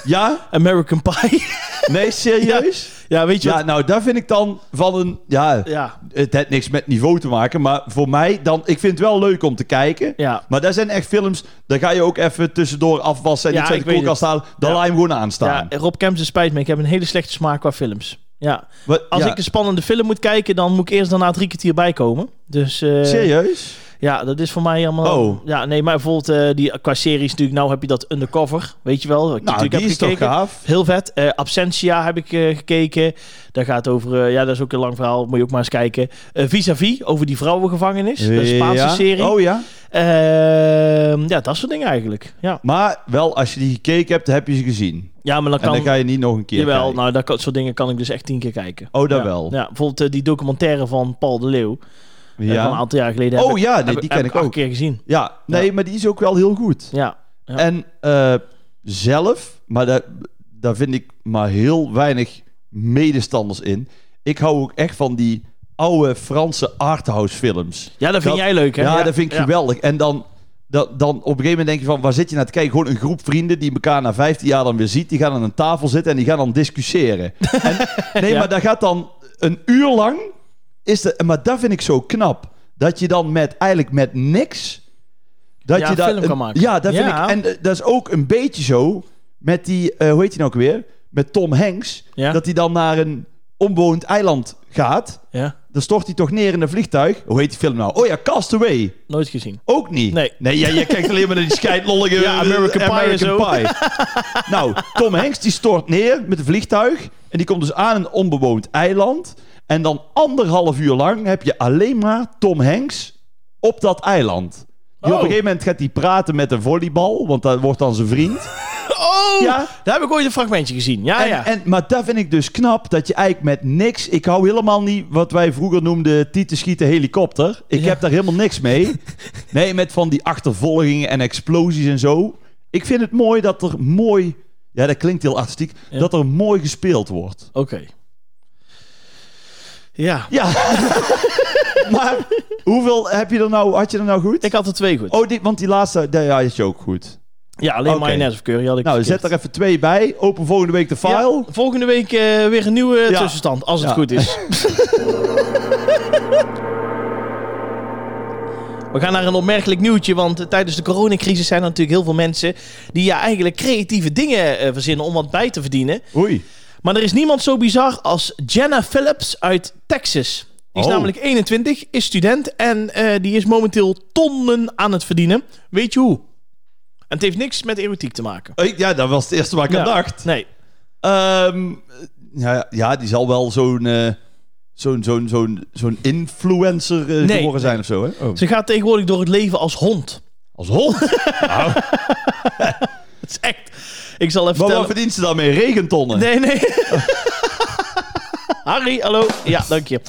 [SPEAKER 2] ja?
[SPEAKER 1] American Pie.
[SPEAKER 2] Nee, serieus?
[SPEAKER 1] Ja, weet je
[SPEAKER 2] Ja,
[SPEAKER 1] wat?
[SPEAKER 2] nou, daar vind ik dan van een... Ja,
[SPEAKER 1] Ja.
[SPEAKER 2] het heeft niks met niveau te maken, maar voor mij dan... Ik vind het wel leuk om te kijken.
[SPEAKER 1] Ja.
[SPEAKER 2] Maar daar zijn echt films, daar ga je ook even tussendoor afwassen en
[SPEAKER 1] Ja,
[SPEAKER 2] iets uit
[SPEAKER 1] ik
[SPEAKER 2] de
[SPEAKER 1] weet
[SPEAKER 2] koelkast halen. Dan
[SPEAKER 1] Ja.
[SPEAKER 2] laat je hem gewoon aanstaan.
[SPEAKER 1] ja, Rob Kemps, het spijt me. Ik heb een hele slechte smaak qua films. Ja.
[SPEAKER 2] Wat-
[SPEAKER 1] Als
[SPEAKER 2] ja.
[SPEAKER 1] ik een spannende film moet kijken, dan moet ik eerst daarna drie kwartier bijkomen. Dus eh,
[SPEAKER 2] Serieus?
[SPEAKER 1] ja, dat is voor mij allemaal...
[SPEAKER 2] Oh.
[SPEAKER 1] Ja, nee, maar bijvoorbeeld eh, die, qua series natuurlijk, nou heb je dat Undercover, weet je wel. wat ik
[SPEAKER 2] Nou,
[SPEAKER 1] natuurlijk
[SPEAKER 2] die
[SPEAKER 1] heb
[SPEAKER 2] is toch
[SPEAKER 1] gekeken.
[SPEAKER 2] gaaf?
[SPEAKER 1] Heel vet. Eh, Absentia heb ik eh, gekeken. Daar gaat over... eh, ja, dat is ook een lang verhaal. Moet je ook maar eens kijken. Eh, Vis-à-vis, over die vrouwengevangenis. Een Spaanse
[SPEAKER 2] Ja.
[SPEAKER 1] serie.
[SPEAKER 2] Oh ja?
[SPEAKER 1] Ehm, ja, dat soort dingen eigenlijk. Ja,
[SPEAKER 2] Maar wel, als je die gekeken hebt, dan heb je ze gezien.
[SPEAKER 1] ja maar dan
[SPEAKER 2] En
[SPEAKER 1] kan...
[SPEAKER 2] dan ga je niet nog een keer
[SPEAKER 1] Jawel,
[SPEAKER 2] kijken.
[SPEAKER 1] nou, dat kan- soort dingen kan ik dus echt tien keer kijken.
[SPEAKER 2] Oh, dat
[SPEAKER 1] ja.
[SPEAKER 2] wel.
[SPEAKER 1] Ja, bijvoorbeeld eh, die documentaire van Paul de Leeuw. eh,
[SPEAKER 2] Ja.
[SPEAKER 1] Van een aantal jaar geleden heb
[SPEAKER 2] Oh
[SPEAKER 1] ik-
[SPEAKER 2] ja, nee,
[SPEAKER 1] heb
[SPEAKER 2] die
[SPEAKER 1] heb
[SPEAKER 2] ken ik
[SPEAKER 1] acht
[SPEAKER 2] ook.
[SPEAKER 1] keer gezien.
[SPEAKER 2] Ja, nee,
[SPEAKER 1] Ja.
[SPEAKER 2] maar die is ook wel heel goed.
[SPEAKER 1] Ja, Ja.
[SPEAKER 2] En eh, zelf, maar daar, daar vind ik maar heel weinig medestanders in. Ik hou ook echt van die oude Franse arthouse films.
[SPEAKER 1] ja dat vind
[SPEAKER 2] Dat-
[SPEAKER 1] jij leuk, hè?
[SPEAKER 2] Ja, dat vind ik
[SPEAKER 1] ja.
[SPEAKER 2] geweldig. En dan, dan, dan op een gegeven moment denk je van, waar zit je naar te kijken? Gewoon een groep vrienden die elkaar na 15 jaar dan weer ziet. Die gaan aan een tafel zitten en die gaan dan discussiëren. en, nee,
[SPEAKER 1] Ja.
[SPEAKER 2] maar daar gaat dan een uur lang... Is de, maar dat vind ik zo knap. Dat je dan met, eigenlijk met niks... Dat
[SPEAKER 1] Ja,
[SPEAKER 2] je
[SPEAKER 1] een
[SPEAKER 2] daar
[SPEAKER 1] film kan maken.
[SPEAKER 2] Ja, dat vind
[SPEAKER 1] Ja.
[SPEAKER 2] ik... En eh, dat is ook een beetje zo met die... eh, hoe heet die nou ook weer? Met Tom Hanks.
[SPEAKER 1] Ja.
[SPEAKER 2] Dat hij dan naar een onbewoond eiland gaat.
[SPEAKER 1] Ja,
[SPEAKER 2] Dan stort hij toch neer in een vliegtuig. Hoe heet die film nou? Oh ja, Castaway.
[SPEAKER 1] nooit gezien.
[SPEAKER 2] Ook niet.
[SPEAKER 1] Nee.
[SPEAKER 2] Nee, jij, jij kijkt alleen maar naar die scheidlollige eh,
[SPEAKER 1] Ja, American Pie en zo.
[SPEAKER 2] Pie. nou, Tom Hanks die stort neer met een vliegtuig. En die komt dus aan een onbewoond eiland. En dan anderhalf uur lang heb je alleen maar Tom Hanks op dat eiland. Die
[SPEAKER 1] Oh.
[SPEAKER 2] Op een gegeven moment gaat hij praten met een volleybal, want dat wordt dan zijn vriend.
[SPEAKER 1] Oh!
[SPEAKER 2] Ja.
[SPEAKER 1] Daar heb ik ooit een fragmentje gezien. Ja,
[SPEAKER 2] En,
[SPEAKER 1] Ah, ja.
[SPEAKER 2] en, maar dat vind ik dus knap, dat je eigenlijk met niks... Ik hou helemaal niet wat wij vroeger noemden tieten schieten helikopter. Ik
[SPEAKER 1] Ja.
[SPEAKER 2] heb daar helemaal niks mee. nee, met van die achtervolgingen en explosies en zo. Ik vind het mooi dat er mooi... Ja, dat klinkt heel artistiek.
[SPEAKER 1] Ja.
[SPEAKER 2] Dat er mooi gespeeld wordt.
[SPEAKER 1] Oké. Ja.
[SPEAKER 2] Ja. maar hoeveel heb je er nou... Had je er nou goed?
[SPEAKER 1] Ik had er twee goed.
[SPEAKER 2] Oh, die, want die laatste, daar ja, is je ook goed.
[SPEAKER 1] ja, alleen
[SPEAKER 2] oké.
[SPEAKER 1] mayonaise of curry had ik
[SPEAKER 2] Nou,
[SPEAKER 1] verkeerd.
[SPEAKER 2] zet er even twee bij. Open volgende week de file.
[SPEAKER 1] Ja, volgende week eh, weer een nieuwe
[SPEAKER 2] Ja.
[SPEAKER 1] tussenstand, als het
[SPEAKER 2] Ja.
[SPEAKER 1] goed is. We gaan naar een opmerkelijk nieuwtje, want eh, tijdens de coronacrisis zijn er natuurlijk heel veel mensen die ja, eigenlijk creatieve dingen eh, verzinnen om wat bij te verdienen.
[SPEAKER 2] Oei.
[SPEAKER 1] Maar er is niemand zo bizar als Jenna Phillips uit Texas. Die is
[SPEAKER 2] Oh.
[SPEAKER 1] namelijk 21, is student en eh, die is momenteel tonnen aan het verdienen. Weet je hoe? En het heeft niks met erotiek te maken.
[SPEAKER 2] Ik- Ja, dat was het eerste waar ik aan
[SPEAKER 1] Ja.
[SPEAKER 2] dacht.
[SPEAKER 1] Nee.
[SPEAKER 2] Ehm, ja, ja, die zal wel zo'n eh, zo'n zo'n zo'n zo'n influencer eh,
[SPEAKER 1] Nee.
[SPEAKER 2] geworden zijn of zo, hè? Oh.
[SPEAKER 1] Ze gaat tegenwoordig door het leven als hond.
[SPEAKER 2] Als hond?
[SPEAKER 1] Het is echt. Ik zal even
[SPEAKER 2] maar wat
[SPEAKER 1] vertellen.
[SPEAKER 2] verdient ze dan mee? Regentonnen?
[SPEAKER 1] Nee, nee. Harry, hallo. Ja, dank je.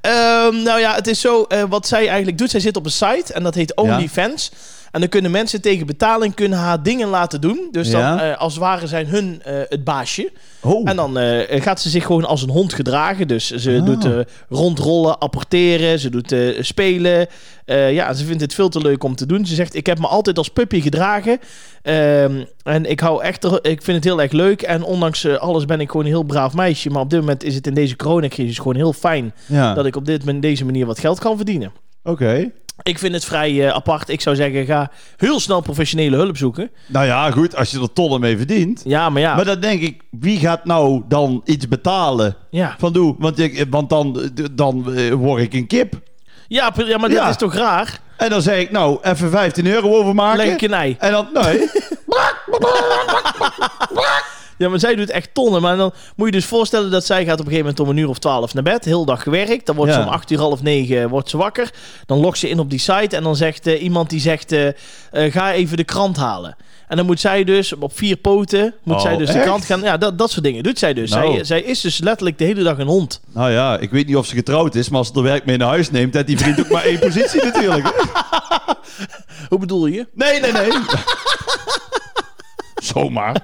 [SPEAKER 1] Ehm, nou ja, het is zo. eh, wat zij eigenlijk doet, zij zit op een site en dat heet OnlyFans. En dan kunnen mensen tegen betaling kunnen haar dingen laten doen. Dus dan,
[SPEAKER 2] Ja.
[SPEAKER 1] eh, als het ware, zijn hun eh, het baasje.
[SPEAKER 2] Oh.
[SPEAKER 1] En dan eh, gaat ze zich gewoon als een hond gedragen. Dus ze
[SPEAKER 2] Ah.
[SPEAKER 1] doet eh, rondrollen, apporteren, ze doet eh, spelen. Eh, ja, ze vindt het veel te leuk om te doen. Ze zegt, ik heb me altijd als puppy gedragen. Ehm, en ik, hou echt, er- ik vind het heel erg leuk. En ondanks eh, alles ben ik gewoon een heel braaf meisje. Maar op dit moment is het in deze coronacrisis gewoon heel fijn...
[SPEAKER 2] ja,
[SPEAKER 1] dat ik op dit, met deze manier wat geld kan verdienen.
[SPEAKER 2] oké.
[SPEAKER 1] Ik vind het vrij eh, apart. Ik zou zeggen, ga heel snel professionele hulp zoeken.
[SPEAKER 2] Nou ja, goed, als je er tonnen mee verdient.
[SPEAKER 1] Ja, maar ja.
[SPEAKER 2] Maar dan denk ik, wie gaat nou dan iets betalen?
[SPEAKER 1] ja.
[SPEAKER 2] Van doe, want, ik, want dan, dan eh, word ik een kip.
[SPEAKER 1] Ja, pre- ja, maar dat
[SPEAKER 2] Ja.
[SPEAKER 1] is toch raar?
[SPEAKER 2] En dan zeg ik, nou, even 15 euro overmaken.
[SPEAKER 1] Leg ik een ei.
[SPEAKER 2] En dan, nee.
[SPEAKER 1] Ja, maar zij doet echt tonnen. Maar dan moet je dus voorstellen dat zij gaat op een gegeven moment om een uur of twaalf naar bed. Heel dag gewerkt. Dan wordt
[SPEAKER 2] Ja.
[SPEAKER 1] ze om acht uur, half negen eh, wordt ze wakker. Dan logt ze in op die site en dan zegt eh, iemand die zegt... eh, eh, ga even de krant halen. En dan moet zij dus op vier poten... moet
[SPEAKER 2] Oh,
[SPEAKER 1] zij dus
[SPEAKER 2] echt?
[SPEAKER 1] de krant gaan... Ja, dat, dat soort dingen doet zij dus.
[SPEAKER 2] Nou.
[SPEAKER 1] Zij, zij is dus letterlijk de hele dag een hond.
[SPEAKER 2] Nou ja, ik weet niet of ze getrouwd is, maar als ze er werk mee naar huis neemt, heeft die vriend ook maar één positie natuurlijk. hè?
[SPEAKER 1] Hoe bedoel je?
[SPEAKER 2] Nee, nee, nee. Zomaar.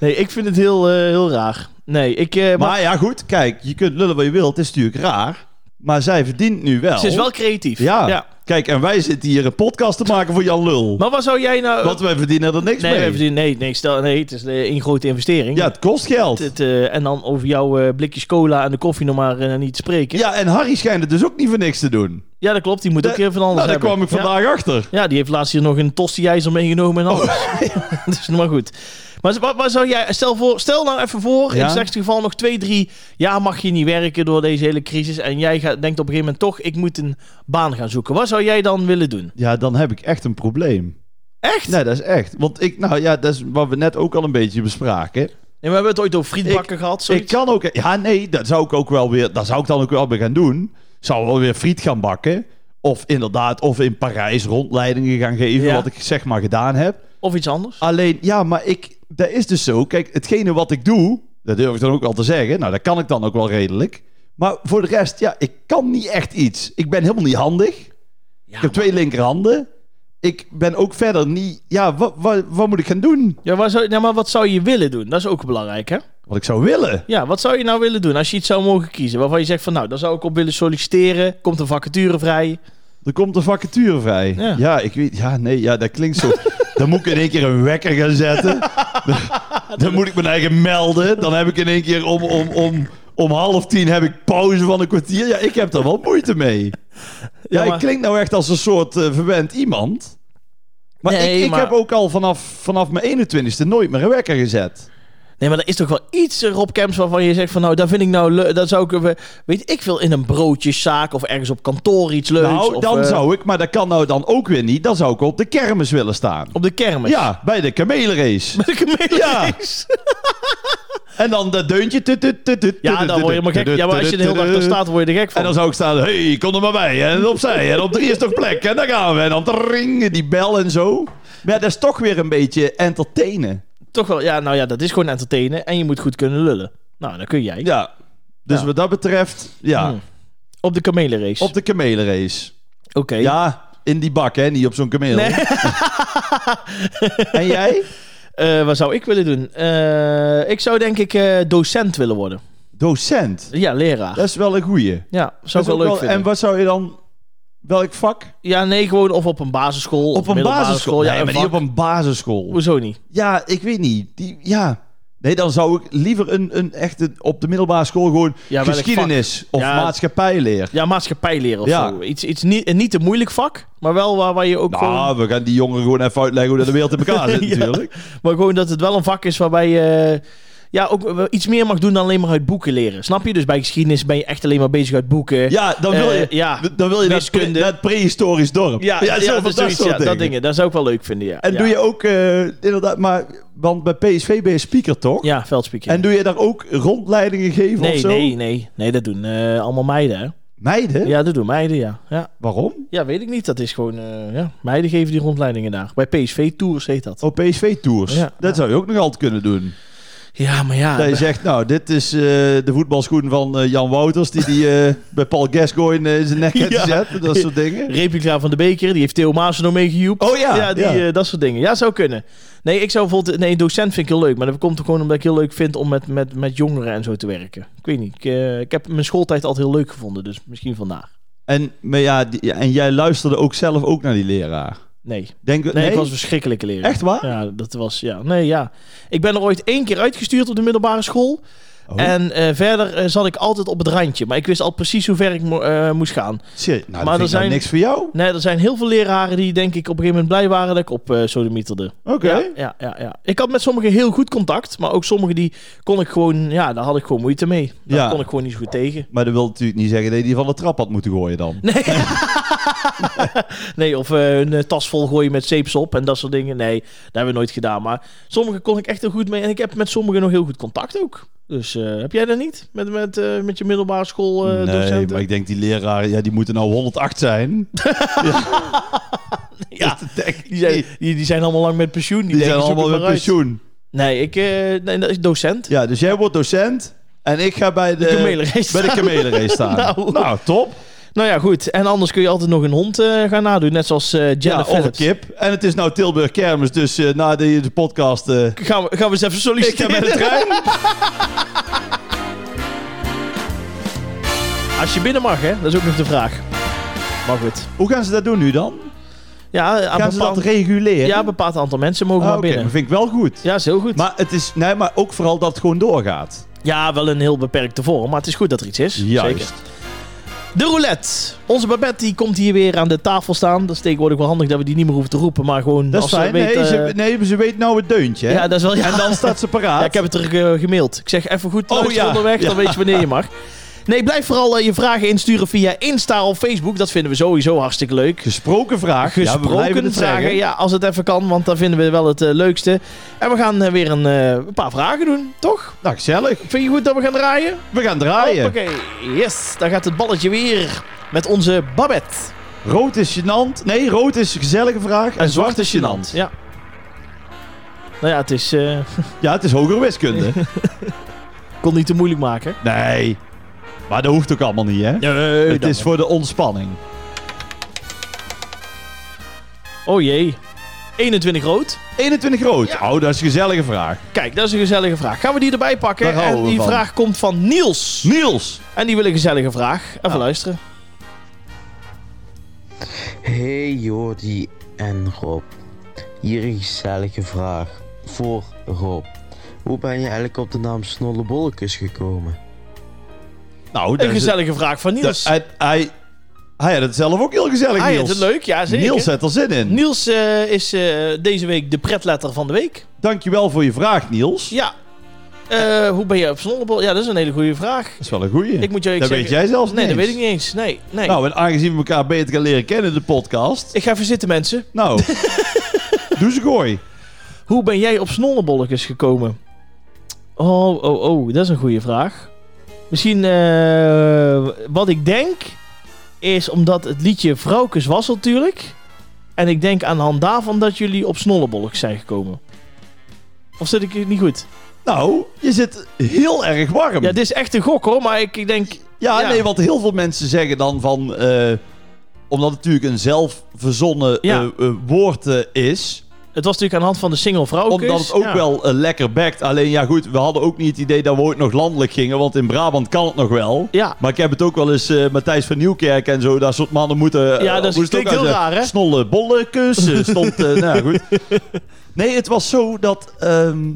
[SPEAKER 1] Nee, ik vind het heel, eh, heel raar. Nee, ik... eh, maar,
[SPEAKER 2] Maar ja, goed, kijk, je kunt lullen wat je wilt, het is natuurlijk raar. Maar zij verdient nu wel.
[SPEAKER 1] Ze is wel creatief.
[SPEAKER 2] nou. Ja. Kijk, en wij zitten hier een podcast te maken voor Jan Lul.
[SPEAKER 1] Maar wat zou jij nou...
[SPEAKER 2] Want wij verdienen er niks
[SPEAKER 1] nee,
[SPEAKER 2] mee.
[SPEAKER 1] wij verdienen- nee, nee, stel, nee, het is eh, een grote investering.
[SPEAKER 2] Ja, het kost geld.
[SPEAKER 1] Het, eh, en dan over jouw eh, blikjes cola en de koffie nog maar eh, niet spreken. Ja.
[SPEAKER 2] Ja, en Harry schijnt het dus ook niet voor niks te doen.
[SPEAKER 1] dat klopt. Die moet
[SPEAKER 2] Dat-
[SPEAKER 1] ook eh, van alles
[SPEAKER 2] Nou, daar
[SPEAKER 1] hebben.
[SPEAKER 2] kwam ik
[SPEAKER 1] Ja.
[SPEAKER 2] vandaag achter.
[SPEAKER 1] Ja, die heeft laatst hier nog een tosti-ijzer meegenomen en
[SPEAKER 2] Oh.
[SPEAKER 1] alles. dat is nog maar goed. Maar wat, wat zou jij, stel, voor, stel nou even voor, in
[SPEAKER 2] Ja.
[SPEAKER 1] het slechtste geval nog twee, drie jaar mag je niet werken door deze hele crisis. En jij gaat, denkt op een gegeven moment toch, ik moet een baan gaan zoeken. Wat zou jij dan willen doen?
[SPEAKER 2] Ja, dan heb ik echt een probleem.
[SPEAKER 1] Echt?
[SPEAKER 2] Nee, dat is echt. Want ik, nou ja, dat is wat we net ook al een beetje bespraken.
[SPEAKER 1] En we hebben het ooit over frietbakken gehad.
[SPEAKER 2] Ik
[SPEAKER 1] zoiets.
[SPEAKER 2] kan ook. Ja, nee, dat zou ik ook wel weer. Dat zou ik dan ook wel weer gaan doen. Zou wel weer friet gaan bakken. Of inderdaad, of in Parijs rondleidingen gaan geven.
[SPEAKER 1] Ja.
[SPEAKER 2] Wat ik zeg maar gedaan heb.
[SPEAKER 1] Of iets anders.
[SPEAKER 2] Alleen, ja, maar ik. Dat is dus zo. Kijk, hetgene wat ik doe. Dat durf ik dan ook wel te zeggen. Nou, dat kan ik dan ook wel redelijk. Maar voor de rest, ja, ik kan niet echt iets. Ik ben helemaal niet handig.
[SPEAKER 1] Ja,
[SPEAKER 2] Ik heb twee linkerhanden. Ik ben ook verder niet. Ja, wat, wat, wat moet ik gaan doen?
[SPEAKER 1] Ja, waar zou, ja, maar wat zou je willen doen? Dat is ook belangrijk, hè?
[SPEAKER 2] Wat ik zou willen.
[SPEAKER 1] Ja, wat zou je nou willen doen als je iets zou mogen kiezen? Waarvan je zegt van, nou, daar zou ik op willen solliciteren. Komt een vacature vrij.
[SPEAKER 2] Er komt een vacature vrij.
[SPEAKER 1] Ja.
[SPEAKER 2] Ja, ik weet. Ja, nee, ja, dat klinkt zo. Dan moet ik in één keer een wekker gaan zetten. Dan, dan moet ik mijn eigen melden. Dan heb ik in één keer om, om, om, om half tien heb ik pauze van een kwartier. Ja, ik heb daar wel moeite mee. Ja,
[SPEAKER 1] Ja, maar-
[SPEAKER 2] ik klink nou echt als een soort eh, verwend iemand. Maar
[SPEAKER 1] Nee,
[SPEAKER 2] ik, ik
[SPEAKER 1] maar-
[SPEAKER 2] heb ook al vanaf, vanaf mijn 21ste nooit meer een wekker gezet.
[SPEAKER 1] Nee, maar er is toch wel iets eh, Rob Camps waarvan je zegt van nou, daar vind ik nou leuk. Dat zou ik even, weet ik veel, in een broodjeszaak of ergens op kantoor iets leuks.
[SPEAKER 2] nou,
[SPEAKER 1] of,
[SPEAKER 2] dan
[SPEAKER 1] eh,
[SPEAKER 2] zou ik, maar dat kan nou dan ook weer niet. Dan zou ik op de kermis willen staan.
[SPEAKER 1] Op de kermis.
[SPEAKER 2] Ja, bij de kamelenrace.
[SPEAKER 1] Met een kameel.
[SPEAKER 2] Ja. En dan dat deuntje. tut, tut, tut, tut,
[SPEAKER 1] Ja,
[SPEAKER 2] tut,
[SPEAKER 1] dan word je
[SPEAKER 2] tut,
[SPEAKER 1] helemaal gek.
[SPEAKER 2] tut,
[SPEAKER 1] Ja, maar als je de hele dag
[SPEAKER 2] tut,
[SPEAKER 1] daar
[SPEAKER 2] tut.
[SPEAKER 1] staat, word je er gek
[SPEAKER 2] En dan
[SPEAKER 1] van.
[SPEAKER 2] zou ik staan, hey, kom er maar bij. En opzij. En op drie is toch plek. En dan gaan we. En dan ringen die bel en zo. Maar ja, dat is toch weer een beetje entertainen.
[SPEAKER 1] Toch wel, ja, nou ja, dat is gewoon entertainen. En je moet goed kunnen lullen. Nou, dan kun jij.
[SPEAKER 2] Ja. Dus
[SPEAKER 1] Ja.
[SPEAKER 2] wat dat betreft, ja.
[SPEAKER 1] Hm. Op de kamelenrace.
[SPEAKER 2] Op de kamelenrace.
[SPEAKER 1] Oké.
[SPEAKER 2] Ja, in die bak, hè. Niet op zo'n kameel.
[SPEAKER 1] Nee.
[SPEAKER 2] en jij?
[SPEAKER 1] Eh, wat zou ik willen doen? Eh, ik zou denk ik eh, docent willen worden.
[SPEAKER 2] Docent.
[SPEAKER 1] Ja, leraar.
[SPEAKER 2] Dat is wel een goeie.
[SPEAKER 1] Ja, zou
[SPEAKER 2] Eh,
[SPEAKER 1] ik
[SPEAKER 2] Dat is
[SPEAKER 1] wel
[SPEAKER 2] ook
[SPEAKER 1] leuk
[SPEAKER 2] wel-
[SPEAKER 1] vinden.
[SPEAKER 2] En wat zou je dan... Welk vak?
[SPEAKER 1] Ja, nee, gewoon of op een basisschool.
[SPEAKER 2] Op een
[SPEAKER 1] middelbare
[SPEAKER 2] basisschool.
[SPEAKER 1] school, Ja,
[SPEAKER 2] nee,
[SPEAKER 1] een
[SPEAKER 2] maar niet
[SPEAKER 1] vak.
[SPEAKER 2] op een basisschool.
[SPEAKER 1] Hoezo niet?
[SPEAKER 2] Ja, ik weet niet. Die, ja. Nee, dan zou ik liever een, een echte op de middelbare school gewoon
[SPEAKER 1] Ja, welk
[SPEAKER 2] geschiedenis of
[SPEAKER 1] Ja.
[SPEAKER 2] maatschappijleer.
[SPEAKER 1] Ja, maatschappijleren of
[SPEAKER 2] Ja.
[SPEAKER 1] zo. Iets, iets niet, een niet te moeilijk vak, maar wel waar, waar je ook gewoon...
[SPEAKER 2] Nou, we gaan die jongeren gewoon even uitleggen hoe dat de wereld in elkaar zit
[SPEAKER 1] Ja.
[SPEAKER 2] natuurlijk.
[SPEAKER 1] Maar gewoon dat het wel een vak is waarbij je... eh, Ja, ook wel iets meer mag doen dan alleen maar uit boeken leren. Snap je? Dus bij geschiedenis ben je echt alleen maar bezig uit boeken.
[SPEAKER 2] Ja, dan wil
[SPEAKER 1] Eh,
[SPEAKER 2] je,
[SPEAKER 1] ja.
[SPEAKER 2] dan wil je dat, pre-
[SPEAKER 1] Wiskunde.
[SPEAKER 2] dat prehistorisch dorp.
[SPEAKER 1] ja, ja,
[SPEAKER 2] zo
[SPEAKER 1] dat
[SPEAKER 2] van
[SPEAKER 1] is zoiets,
[SPEAKER 2] soort
[SPEAKER 1] ja, dat dingen. Dat zou ik wel leuk vinden, ja.
[SPEAKER 2] En
[SPEAKER 1] ja.
[SPEAKER 2] doe je ook, eh, inderdaad, maar, want bij PSV ben je speaker toch?
[SPEAKER 1] Ja, veldspeaker.
[SPEAKER 2] En doe je daar ook rondleidingen geven of
[SPEAKER 1] nee,
[SPEAKER 2] zo?
[SPEAKER 1] nee, nee. Nee, dat doen eh, allemaal meiden, hè.
[SPEAKER 2] Meiden?
[SPEAKER 1] Ja, dat doen meiden, ja. ja.
[SPEAKER 2] Waarom?
[SPEAKER 1] Ja, weet ik niet. Dat is gewoon... eh, ja. Meiden geven die rondleidingen daar. Bij PSV Tours heet dat.
[SPEAKER 2] Oh, PSV-tours.
[SPEAKER 1] Ja,
[SPEAKER 2] dat zou je ook nog altijd kunnen doen.
[SPEAKER 1] Ja, maar ja...
[SPEAKER 2] Dat je zegt, nou, dit is eh, de voetbalschoen van eh, Jan Wouters... die die eh, bij Paul Gascoigne eh, in zijn nek heeft
[SPEAKER 1] Ja.
[SPEAKER 2] gezet. Dat soort dingen.
[SPEAKER 1] replica van de beker. Die heeft Theo Maassen nog meegejoept.
[SPEAKER 2] Oh ja,
[SPEAKER 1] ja, die,
[SPEAKER 2] ja.
[SPEAKER 1] eh, dat soort dingen. Ja, zou kunnen. Nee, ik zou bijvoorbeeld... Nee, docent vind ik heel leuk. Maar dat komt gewoon omdat ik heel leuk vind om met, met, met jongeren en zo te werken. Ik weet niet. Ik, eh, ik heb mijn schooltijd altijd heel leuk gevonden. Dus misschien vandaag.
[SPEAKER 2] En, maar ja, die- en jij luisterde ook zelf ook naar die leraar.
[SPEAKER 1] Nee.
[SPEAKER 2] Denk,
[SPEAKER 1] Nee, ik was een verschrikkelijke leraar.
[SPEAKER 2] Echt waar?
[SPEAKER 1] Ja, dat was... Ja, nee, ja. Ik ben er ooit één keer uitgestuurd op de middelbare school.
[SPEAKER 2] Oh,
[SPEAKER 1] En eh, verder eh, zat ik altijd op het randje. Maar ik wist al precies hoe ver ik mo- eh, moest gaan.
[SPEAKER 2] serieus?
[SPEAKER 1] maar
[SPEAKER 2] nou, dat
[SPEAKER 1] er
[SPEAKER 2] vind ik nou
[SPEAKER 1] zijn-
[SPEAKER 2] niks voor jou.
[SPEAKER 1] Nee, er zijn heel veel leraren die denk ik op een gegeven moment blij waren dat ik op eh sodemieterde.
[SPEAKER 2] Oké.
[SPEAKER 1] Ja, ja, ja, ja. Ik had met sommigen heel goed contact, maar ook sommigen die kon ik gewoon, ja, daar had ik gewoon moeite mee. Daar
[SPEAKER 2] Ja.
[SPEAKER 1] kon ik gewoon niet zo goed tegen.
[SPEAKER 2] Maar dat wil natuurlijk niet zeggen dat je die van de trap had moeten gooien dan.
[SPEAKER 1] Nee. nee, of eh, een eh, tas vol gooien met zeepsop en dat soort dingen. Nee, dat hebben we nooit gedaan. Maar sommigen kon ik echt heel goed mee. En ik heb met sommigen nog heel goed contact ook. Dus eh, heb jij dat niet? Met, met, eh, met je middelbare school eh,
[SPEAKER 2] nee,
[SPEAKER 1] docenten?
[SPEAKER 2] maar ik denk die leraren, ja, die moeten nou 108 zijn.
[SPEAKER 1] Ja,
[SPEAKER 2] Dat denk ik
[SPEAKER 1] die zijn,
[SPEAKER 2] niet.
[SPEAKER 1] die, die zijn allemaal lang met pensioen. Die,
[SPEAKER 2] Die
[SPEAKER 1] denken,
[SPEAKER 2] zijn
[SPEAKER 1] zoek
[SPEAKER 2] allemaal
[SPEAKER 1] het
[SPEAKER 2] met
[SPEAKER 1] maar uit.
[SPEAKER 2] pensioen.
[SPEAKER 1] Nee, ik eh, nee, dat is docent.
[SPEAKER 2] Ja, dus jij wordt docent en ik ga bij de,
[SPEAKER 1] kamelenrace
[SPEAKER 2] bij de kamelenrace staan.
[SPEAKER 1] Nou.
[SPEAKER 2] top.
[SPEAKER 1] Nou ja, goed. En anders kun je altijd nog een hond eh, gaan nadoen. Net zoals eh Jenna
[SPEAKER 2] Ja, of een
[SPEAKER 1] Phillips.
[SPEAKER 2] kip. En het is nou Tilburg Kermis, dus eh, na de, de podcast... eh,
[SPEAKER 1] Gaan we, gaan we eens even
[SPEAKER 2] ik ga
[SPEAKER 1] solliciteren.
[SPEAKER 2] met de trein.
[SPEAKER 1] Als je binnen mag, hè? Dat is ook nog de vraag. Maar goed.
[SPEAKER 2] Hoe gaan ze dat doen nu dan?
[SPEAKER 1] Ja, aan
[SPEAKER 2] Gaan ze dat
[SPEAKER 1] bepaald,
[SPEAKER 2] reguleren?
[SPEAKER 1] ja, een bepaald aantal mensen mogen
[SPEAKER 2] Ah,
[SPEAKER 1] maar
[SPEAKER 2] oké,
[SPEAKER 1] binnen.
[SPEAKER 2] dat vind ik wel goed.
[SPEAKER 1] Ja, is heel goed.
[SPEAKER 2] Maar, het is, nee, maar ook vooral dat het gewoon doorgaat.
[SPEAKER 1] ja, wel een heel beperkte vorm, maar het is goed dat er iets is. Zeker.
[SPEAKER 2] Juist.
[SPEAKER 1] De roulette. Onze Babette die komt hier weer aan de tafel staan. Dat is tegenwoordig wel handig dat we die niet meer hoeven te roepen, maar gewoon
[SPEAKER 2] Dat is
[SPEAKER 1] als
[SPEAKER 2] fijn.
[SPEAKER 1] ze weet...
[SPEAKER 2] nee, ze,
[SPEAKER 1] eh,
[SPEAKER 2] nee, ze weet nou het deuntje. hè?
[SPEAKER 1] ja, dat is wel... Ja.
[SPEAKER 2] En dan staat ze paraat.
[SPEAKER 1] Ja, ik heb het er eh, gemaild. Ik zeg even goed
[SPEAKER 2] Oh,
[SPEAKER 1] luister
[SPEAKER 2] ja.
[SPEAKER 1] onderweg, dan
[SPEAKER 2] Ja.
[SPEAKER 1] weet je wanneer je mag. Nee, blijf vooral eh, je vragen insturen via Insta of Facebook. Dat vinden we sowieso hartstikke leuk.
[SPEAKER 2] Gesproken vraag. ja, we
[SPEAKER 1] Gesproken
[SPEAKER 2] blijven het
[SPEAKER 1] vragen,
[SPEAKER 2] zeggen.
[SPEAKER 1] ja, als het even kan, want dan vinden we wel het eh, leukste. En we gaan eh, weer een, eh, een paar vragen doen, toch?
[SPEAKER 2] Nou, gezellig.
[SPEAKER 1] Vind je goed dat we gaan draaien?
[SPEAKER 2] We gaan draaien.
[SPEAKER 1] Oké, yes, daar gaat het balletje weer met onze Babette.
[SPEAKER 2] Rood is gênant. Nee, rood is een gezellige vraag. En, zwart is gênant.
[SPEAKER 1] Ja. Nou ja, het is... eh,
[SPEAKER 2] Ja, het is hogere wiskunde.
[SPEAKER 1] kon niet te moeilijk maken.
[SPEAKER 2] nee. Maar dat hoeft ook allemaal niet, hè?
[SPEAKER 1] Nee,
[SPEAKER 2] eh, het is voor de ontspanning.
[SPEAKER 1] Oh jee. 21 rood.
[SPEAKER 2] 21 rood.
[SPEAKER 1] Ja.
[SPEAKER 2] Oh, dat is een gezellige vraag.
[SPEAKER 1] Kijk, dat is een gezellige vraag. Gaan we die erbij pakken?
[SPEAKER 2] Daar houden
[SPEAKER 1] en
[SPEAKER 2] we
[SPEAKER 1] die
[SPEAKER 2] van.
[SPEAKER 1] vraag komt van Niels.
[SPEAKER 2] Niels. Ah.
[SPEAKER 1] En die wil een gezellige vraag. Even
[SPEAKER 2] Ja.
[SPEAKER 1] luisteren.
[SPEAKER 3] Hey Jordi en Rob. Hier een gezellige vraag voor Rob. Hoe ben je eigenlijk op de naam Snollebollekes gekomen?
[SPEAKER 2] Nou, dat
[SPEAKER 1] Een
[SPEAKER 2] is-
[SPEAKER 1] gezellige vraag van
[SPEAKER 2] dat-
[SPEAKER 1] Niels.
[SPEAKER 2] hij, hij, hij had het zelf ook heel gezellig,
[SPEAKER 1] Hij
[SPEAKER 2] Niels.
[SPEAKER 1] het leuk, ja zeker.
[SPEAKER 2] Niels had er zin in.
[SPEAKER 1] Niels, eh, is eh, deze week de pretletter van de week.
[SPEAKER 2] Dankjewel voor je vraag, Niels.
[SPEAKER 1] Ja. Eh, hoe ben je op Snollebol? Ja, dat is een hele goede vraag.
[SPEAKER 2] Dat is wel een goeie.
[SPEAKER 1] Ik moet je
[SPEAKER 2] dat
[SPEAKER 1] eerlijk
[SPEAKER 2] weet
[SPEAKER 1] zeggen-
[SPEAKER 2] jij zelfs
[SPEAKER 1] Nee,
[SPEAKER 2] niet
[SPEAKER 1] dat
[SPEAKER 2] eens.
[SPEAKER 1] weet ik niet eens. Nee, nee.
[SPEAKER 2] Nou, en aangezien we elkaar beter gaan leren kennen in de podcast...
[SPEAKER 1] Ik ga even zitten, mensen.
[SPEAKER 2] Nou, doe ze gooi.
[SPEAKER 1] Hoe ben jij op snollebolletjes gekomen? Oh, oh, oh, dat is een goede vraag. Misschien eh, wat ik denk is omdat het liedje Vrouwkes was natuurlijk. En ik denk aan de hand daarvan dat jullie op snollebolletjes zijn gekomen. Of zit ik hier niet goed?
[SPEAKER 2] Nou, je zit heel erg warm.
[SPEAKER 1] Ja, dit is echt een gok hoor, maar ik, ik denk...
[SPEAKER 2] Ja,
[SPEAKER 1] Ja.
[SPEAKER 2] nee, want heel veel mensen zeggen dan van... eh, omdat het natuurlijk een zelfverzonnen
[SPEAKER 1] Ja.
[SPEAKER 2] eh, eh, woord eh, is.
[SPEAKER 1] Het was natuurlijk aan de hand van de single Vrouwkes.
[SPEAKER 2] Omdat het ook
[SPEAKER 1] Ja.
[SPEAKER 2] wel eh, lekker backt. Alleen ja, goed, we hadden ook niet het idee dat we ooit nog landelijk gingen. Want in Brabant kan het nog wel.
[SPEAKER 1] Ja,
[SPEAKER 2] Maar ik heb het ook wel eens, eh, Matthijs van Nieuwkerk en zo, dat soort mannen moeten... eh,
[SPEAKER 1] Ja, dat is-
[SPEAKER 2] moesten ook
[SPEAKER 1] klinkt heel
[SPEAKER 2] aan zeggen,
[SPEAKER 1] raar, hè?
[SPEAKER 2] Snolle bolle kussen stond... eh, nou ja, goed. Nee, het was zo dat ehm,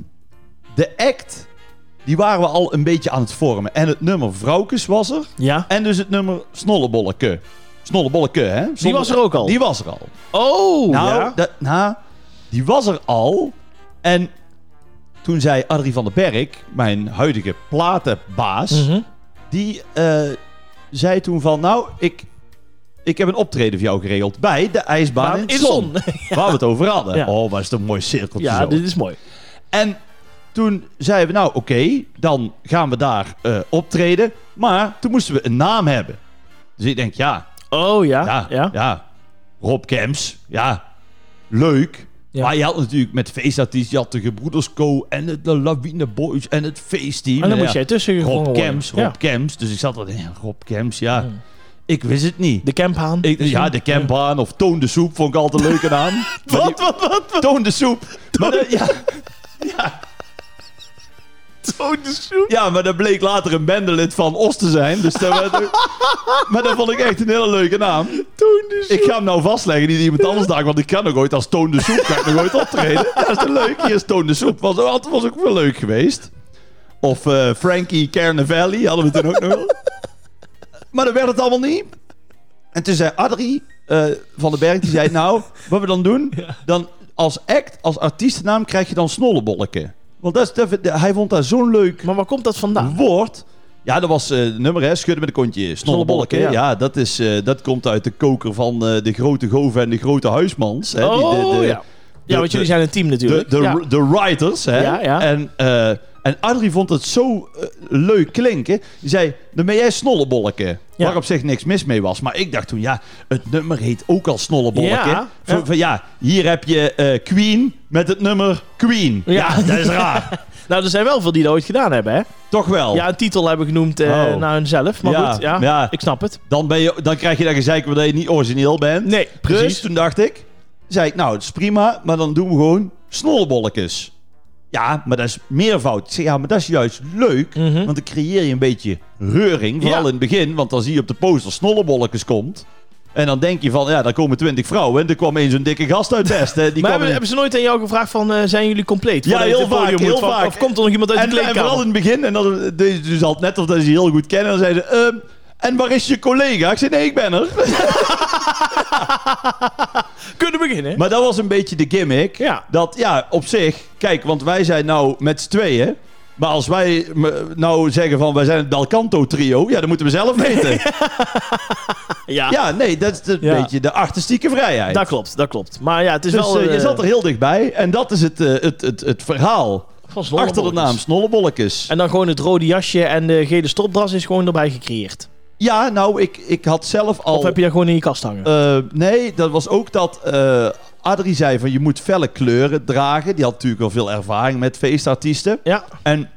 [SPEAKER 2] de act, die waren we al een beetje aan het vormen. En het nummer Vrouwkes was er.
[SPEAKER 1] ja.
[SPEAKER 2] En dus het nummer Snollebolleke. Snollebolleke, hè? Zonder-
[SPEAKER 1] was er ook al?
[SPEAKER 2] Die was er al.
[SPEAKER 1] Oh,
[SPEAKER 2] Nou,
[SPEAKER 1] ja.
[SPEAKER 2] dat- nou, die was er al. En toen zei Adrie van den Berg, mijn huidige platenbaas...
[SPEAKER 1] Mhm.
[SPEAKER 2] Die eh, zei toen van, nou, ik, ik heb een optreden voor jou geregeld bij de ijsbaan
[SPEAKER 1] Maar
[SPEAKER 2] in
[SPEAKER 1] in
[SPEAKER 2] Zon.
[SPEAKER 1] zon.
[SPEAKER 2] Waar we het over hadden.
[SPEAKER 1] Ja.
[SPEAKER 2] Oh, was het een mooi cirkeltje
[SPEAKER 1] ja, dus-
[SPEAKER 2] zo.
[SPEAKER 1] dit is mooi.
[SPEAKER 2] En toen zeiden we, nou oké, dan gaan we daar eh, optreden. Maar toen moesten we een naam hebben. Dus ik denk, ja,
[SPEAKER 1] Oh ja,
[SPEAKER 2] ja, ja. Rob Kemps, ja, leuk.
[SPEAKER 1] Ja.
[SPEAKER 2] Maar je had natuurlijk met feestartiesten, je had de Gebroeders Co. en het de Lawine Boys en het feestteam.
[SPEAKER 1] En dan
[SPEAKER 2] En
[SPEAKER 1] moest
[SPEAKER 2] ja,
[SPEAKER 1] jij tussen
[SPEAKER 2] Rob
[SPEAKER 1] gesprongen worden.
[SPEAKER 2] Camps, Rob
[SPEAKER 1] Ja. Hmm.
[SPEAKER 2] Camps. Dus ik zat al, ja, Rob Camps, ja. Ik wist het niet.
[SPEAKER 1] De camphaan.
[SPEAKER 2] Ik, ja, de campbaan of Toon de Soep vond ik altijd een leuke naam. Maar die-
[SPEAKER 1] wat, wat?
[SPEAKER 2] Toon de Soep. Maar dat- ja,
[SPEAKER 1] Tone Soep.
[SPEAKER 2] ja, maar dat bleek later een bendelid van Os te zijn. Dus dat, maar dat vond ik echt een hele leuke naam.
[SPEAKER 1] Tone
[SPEAKER 2] Ik ga hem nou vastleggen, niet iemand anders daar, want ik kan nog ooit als Toon de Soep, kan ik nog ooit optreden. Dat is toch leuk, hier is Toon de Soep. Was, altijd- was ook wel leuk geweest. Of eh, Frankie Carnavalli hadden we toen ook nog wel. Maar dat werd het allemaal niet. En toen zei Adrie eh, van den Berg, die zei, nou, wat we dan doen, dan als act, als artiestennaam krijg je dan Snollebolleke. Want dat is, te- hij vond dat zo'n leuk
[SPEAKER 1] Maar waar komt dat vandaan?
[SPEAKER 2] woord. Ja, dat was eh, het nummer, hè? Schudden met een kontje. Snollebolleke.
[SPEAKER 1] Snollebolleke,
[SPEAKER 2] Ja,
[SPEAKER 1] ja.
[SPEAKER 2] ja dat, is, eh, dat komt uit de koker van eh, de grote goven en de grote huismans. Hè? Die- de,
[SPEAKER 1] Oh
[SPEAKER 2] de,
[SPEAKER 1] ja.
[SPEAKER 2] de-
[SPEAKER 1] Ja, want jullie
[SPEAKER 2] de-
[SPEAKER 1] zijn een team
[SPEAKER 2] De,
[SPEAKER 1] natuurlijk.
[SPEAKER 2] de,
[SPEAKER 1] Ja.
[SPEAKER 2] de writers, hè?
[SPEAKER 1] Ja, ja.
[SPEAKER 2] En, eh en Adrie vond het zo eh, leuk klinken. Die zei, dan ben jij Snollebolleke.
[SPEAKER 1] Ja.
[SPEAKER 2] Waar op zich niks mis mee was. Maar ik dacht toen, ja, het nummer heet ook al Snollebolleke.
[SPEAKER 1] Ja,
[SPEAKER 2] Van-
[SPEAKER 1] ja.
[SPEAKER 2] van, ja hier heb je eh, Queen met het nummer Queen. Ja,
[SPEAKER 1] Ja.
[SPEAKER 2] dat is raar.
[SPEAKER 1] Nou, er zijn wel veel die dat ooit gedaan hebben, hè?
[SPEAKER 2] Toch wel.
[SPEAKER 1] Ja, een titel hebben genoemd eh,
[SPEAKER 2] Oh.
[SPEAKER 1] naar hunzelf. Maar
[SPEAKER 2] Ja,
[SPEAKER 1] goed, ja,
[SPEAKER 2] ja.
[SPEAKER 1] ik snap het.
[SPEAKER 2] Dan, ben je, dan krijg je dat gezeik omdat je niet origineel bent.
[SPEAKER 1] Nee, precies.
[SPEAKER 2] Dus toen dacht ik, zei ik, nou, het is prima, maar dan doen we gewoon snollebollekes. Ja, maar dat is meervoud. Ik zeg, ja, maar dat is juist leuk.
[SPEAKER 1] Mhm.
[SPEAKER 2] Want dan creëer je een beetje reuring. Vooral
[SPEAKER 1] Ja.
[SPEAKER 2] in het begin. Want dan zie je op de poster snollebolletjes komt. En dan denk je van, ja, daar komen twintig vrouwen. En er kwam eens zo'n dikke gast uit Westen. hè. Die
[SPEAKER 1] maar
[SPEAKER 2] kwam
[SPEAKER 1] hebben,
[SPEAKER 2] in-
[SPEAKER 1] hebben ze nooit aan jou gevraagd van, eh, zijn jullie compleet?
[SPEAKER 2] Ja,
[SPEAKER 1] Voordat je
[SPEAKER 2] heel
[SPEAKER 1] het podium
[SPEAKER 2] vaak,
[SPEAKER 1] moet
[SPEAKER 2] heel
[SPEAKER 1] van-
[SPEAKER 2] vaak.
[SPEAKER 1] Of komt er nog iemand uit
[SPEAKER 2] en,
[SPEAKER 1] de
[SPEAKER 2] en vooral
[SPEAKER 1] kleedkamer?
[SPEAKER 2] in het begin. En dan, dus, dus al net of dat ze je heel goed kennen. Dan zeiden ze, ehm, en waar is je collega? Ik zei, nee, ik ben er.
[SPEAKER 1] Kunnen beginnen.
[SPEAKER 2] Maar dat was een beetje de gimmick.
[SPEAKER 1] Ja.
[SPEAKER 2] Dat, ja, op zich... Kijk, want wij zijn nou met z'n tweeën. Maar als wij me- nou zeggen van... Wij zijn het Dalcanto-trio. Ja, dat moeten we zelf weten.
[SPEAKER 1] ja,
[SPEAKER 2] ja, nee, dat is een
[SPEAKER 1] Ja.
[SPEAKER 2] beetje de artistieke vrijheid.
[SPEAKER 1] dat klopt, dat klopt. Maar ja, het is
[SPEAKER 2] dus
[SPEAKER 1] wel...
[SPEAKER 2] eh, je
[SPEAKER 1] eh,
[SPEAKER 2] zat er heel dichtbij. En dat is het, eh, het, het, het verhaal.
[SPEAKER 1] van Zwolle
[SPEAKER 2] Achter de
[SPEAKER 1] Bolletjes.
[SPEAKER 2] naam Snollebolletjes.
[SPEAKER 1] En dan gewoon het rode jasje en de gele stropdas is gewoon erbij gecreëerd.
[SPEAKER 2] Ja, nou, ik, ik had zelf al...
[SPEAKER 1] Of heb je dat gewoon in je kast hangen?
[SPEAKER 2] Oh. Eh, nee, dat was ook dat eh Adrie zei van je moet felle kleuren dragen. Die had natuurlijk al veel ervaring met feestartiesten.
[SPEAKER 1] ja.
[SPEAKER 2] En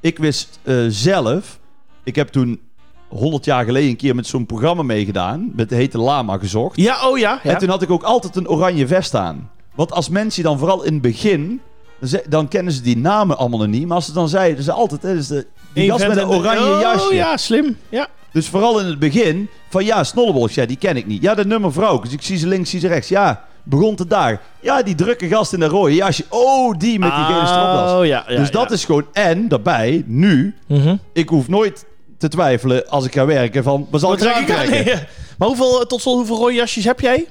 [SPEAKER 2] ik wist eh, zelf, ik heb toen 100 jaar geleden een keer met zo'n programma meegedaan, met de hete lama gezocht.
[SPEAKER 1] Ja, oh ja. ja.
[SPEAKER 2] En toen had ik ook altijd een oranje vest aan. Want als mensen je dan vooral in het begin, dan, ze- dan kennen ze die namen allemaal nog niet. Maar als ze dan zeiden, dus altijd, hè, dus de, die
[SPEAKER 1] Eén
[SPEAKER 2] gast
[SPEAKER 1] vent
[SPEAKER 2] met een
[SPEAKER 1] en de-
[SPEAKER 2] oranje jasje.
[SPEAKER 1] Oh ja, slim. Ja.
[SPEAKER 2] Dus vooral in het begin, van ja, Snollebols, ja, die ken ik niet. Ja, dat nummer vrouw, dus ik zie ze links, zie ze rechts. Ja, begon te daar. Ja, die drukke gast in dat rode jasje. Oh, die met die gele stropdas.
[SPEAKER 1] Oh ja, ja
[SPEAKER 2] dus dat is gewoon, en daarbij, nu,
[SPEAKER 1] Mhm.
[SPEAKER 2] ik hoef nooit te twijfelen als ik ga werken van, wat zal ik eraan trekken?
[SPEAKER 1] Maar hoeveel, eh, tot slot, hoeveel rode jasjes heb jij?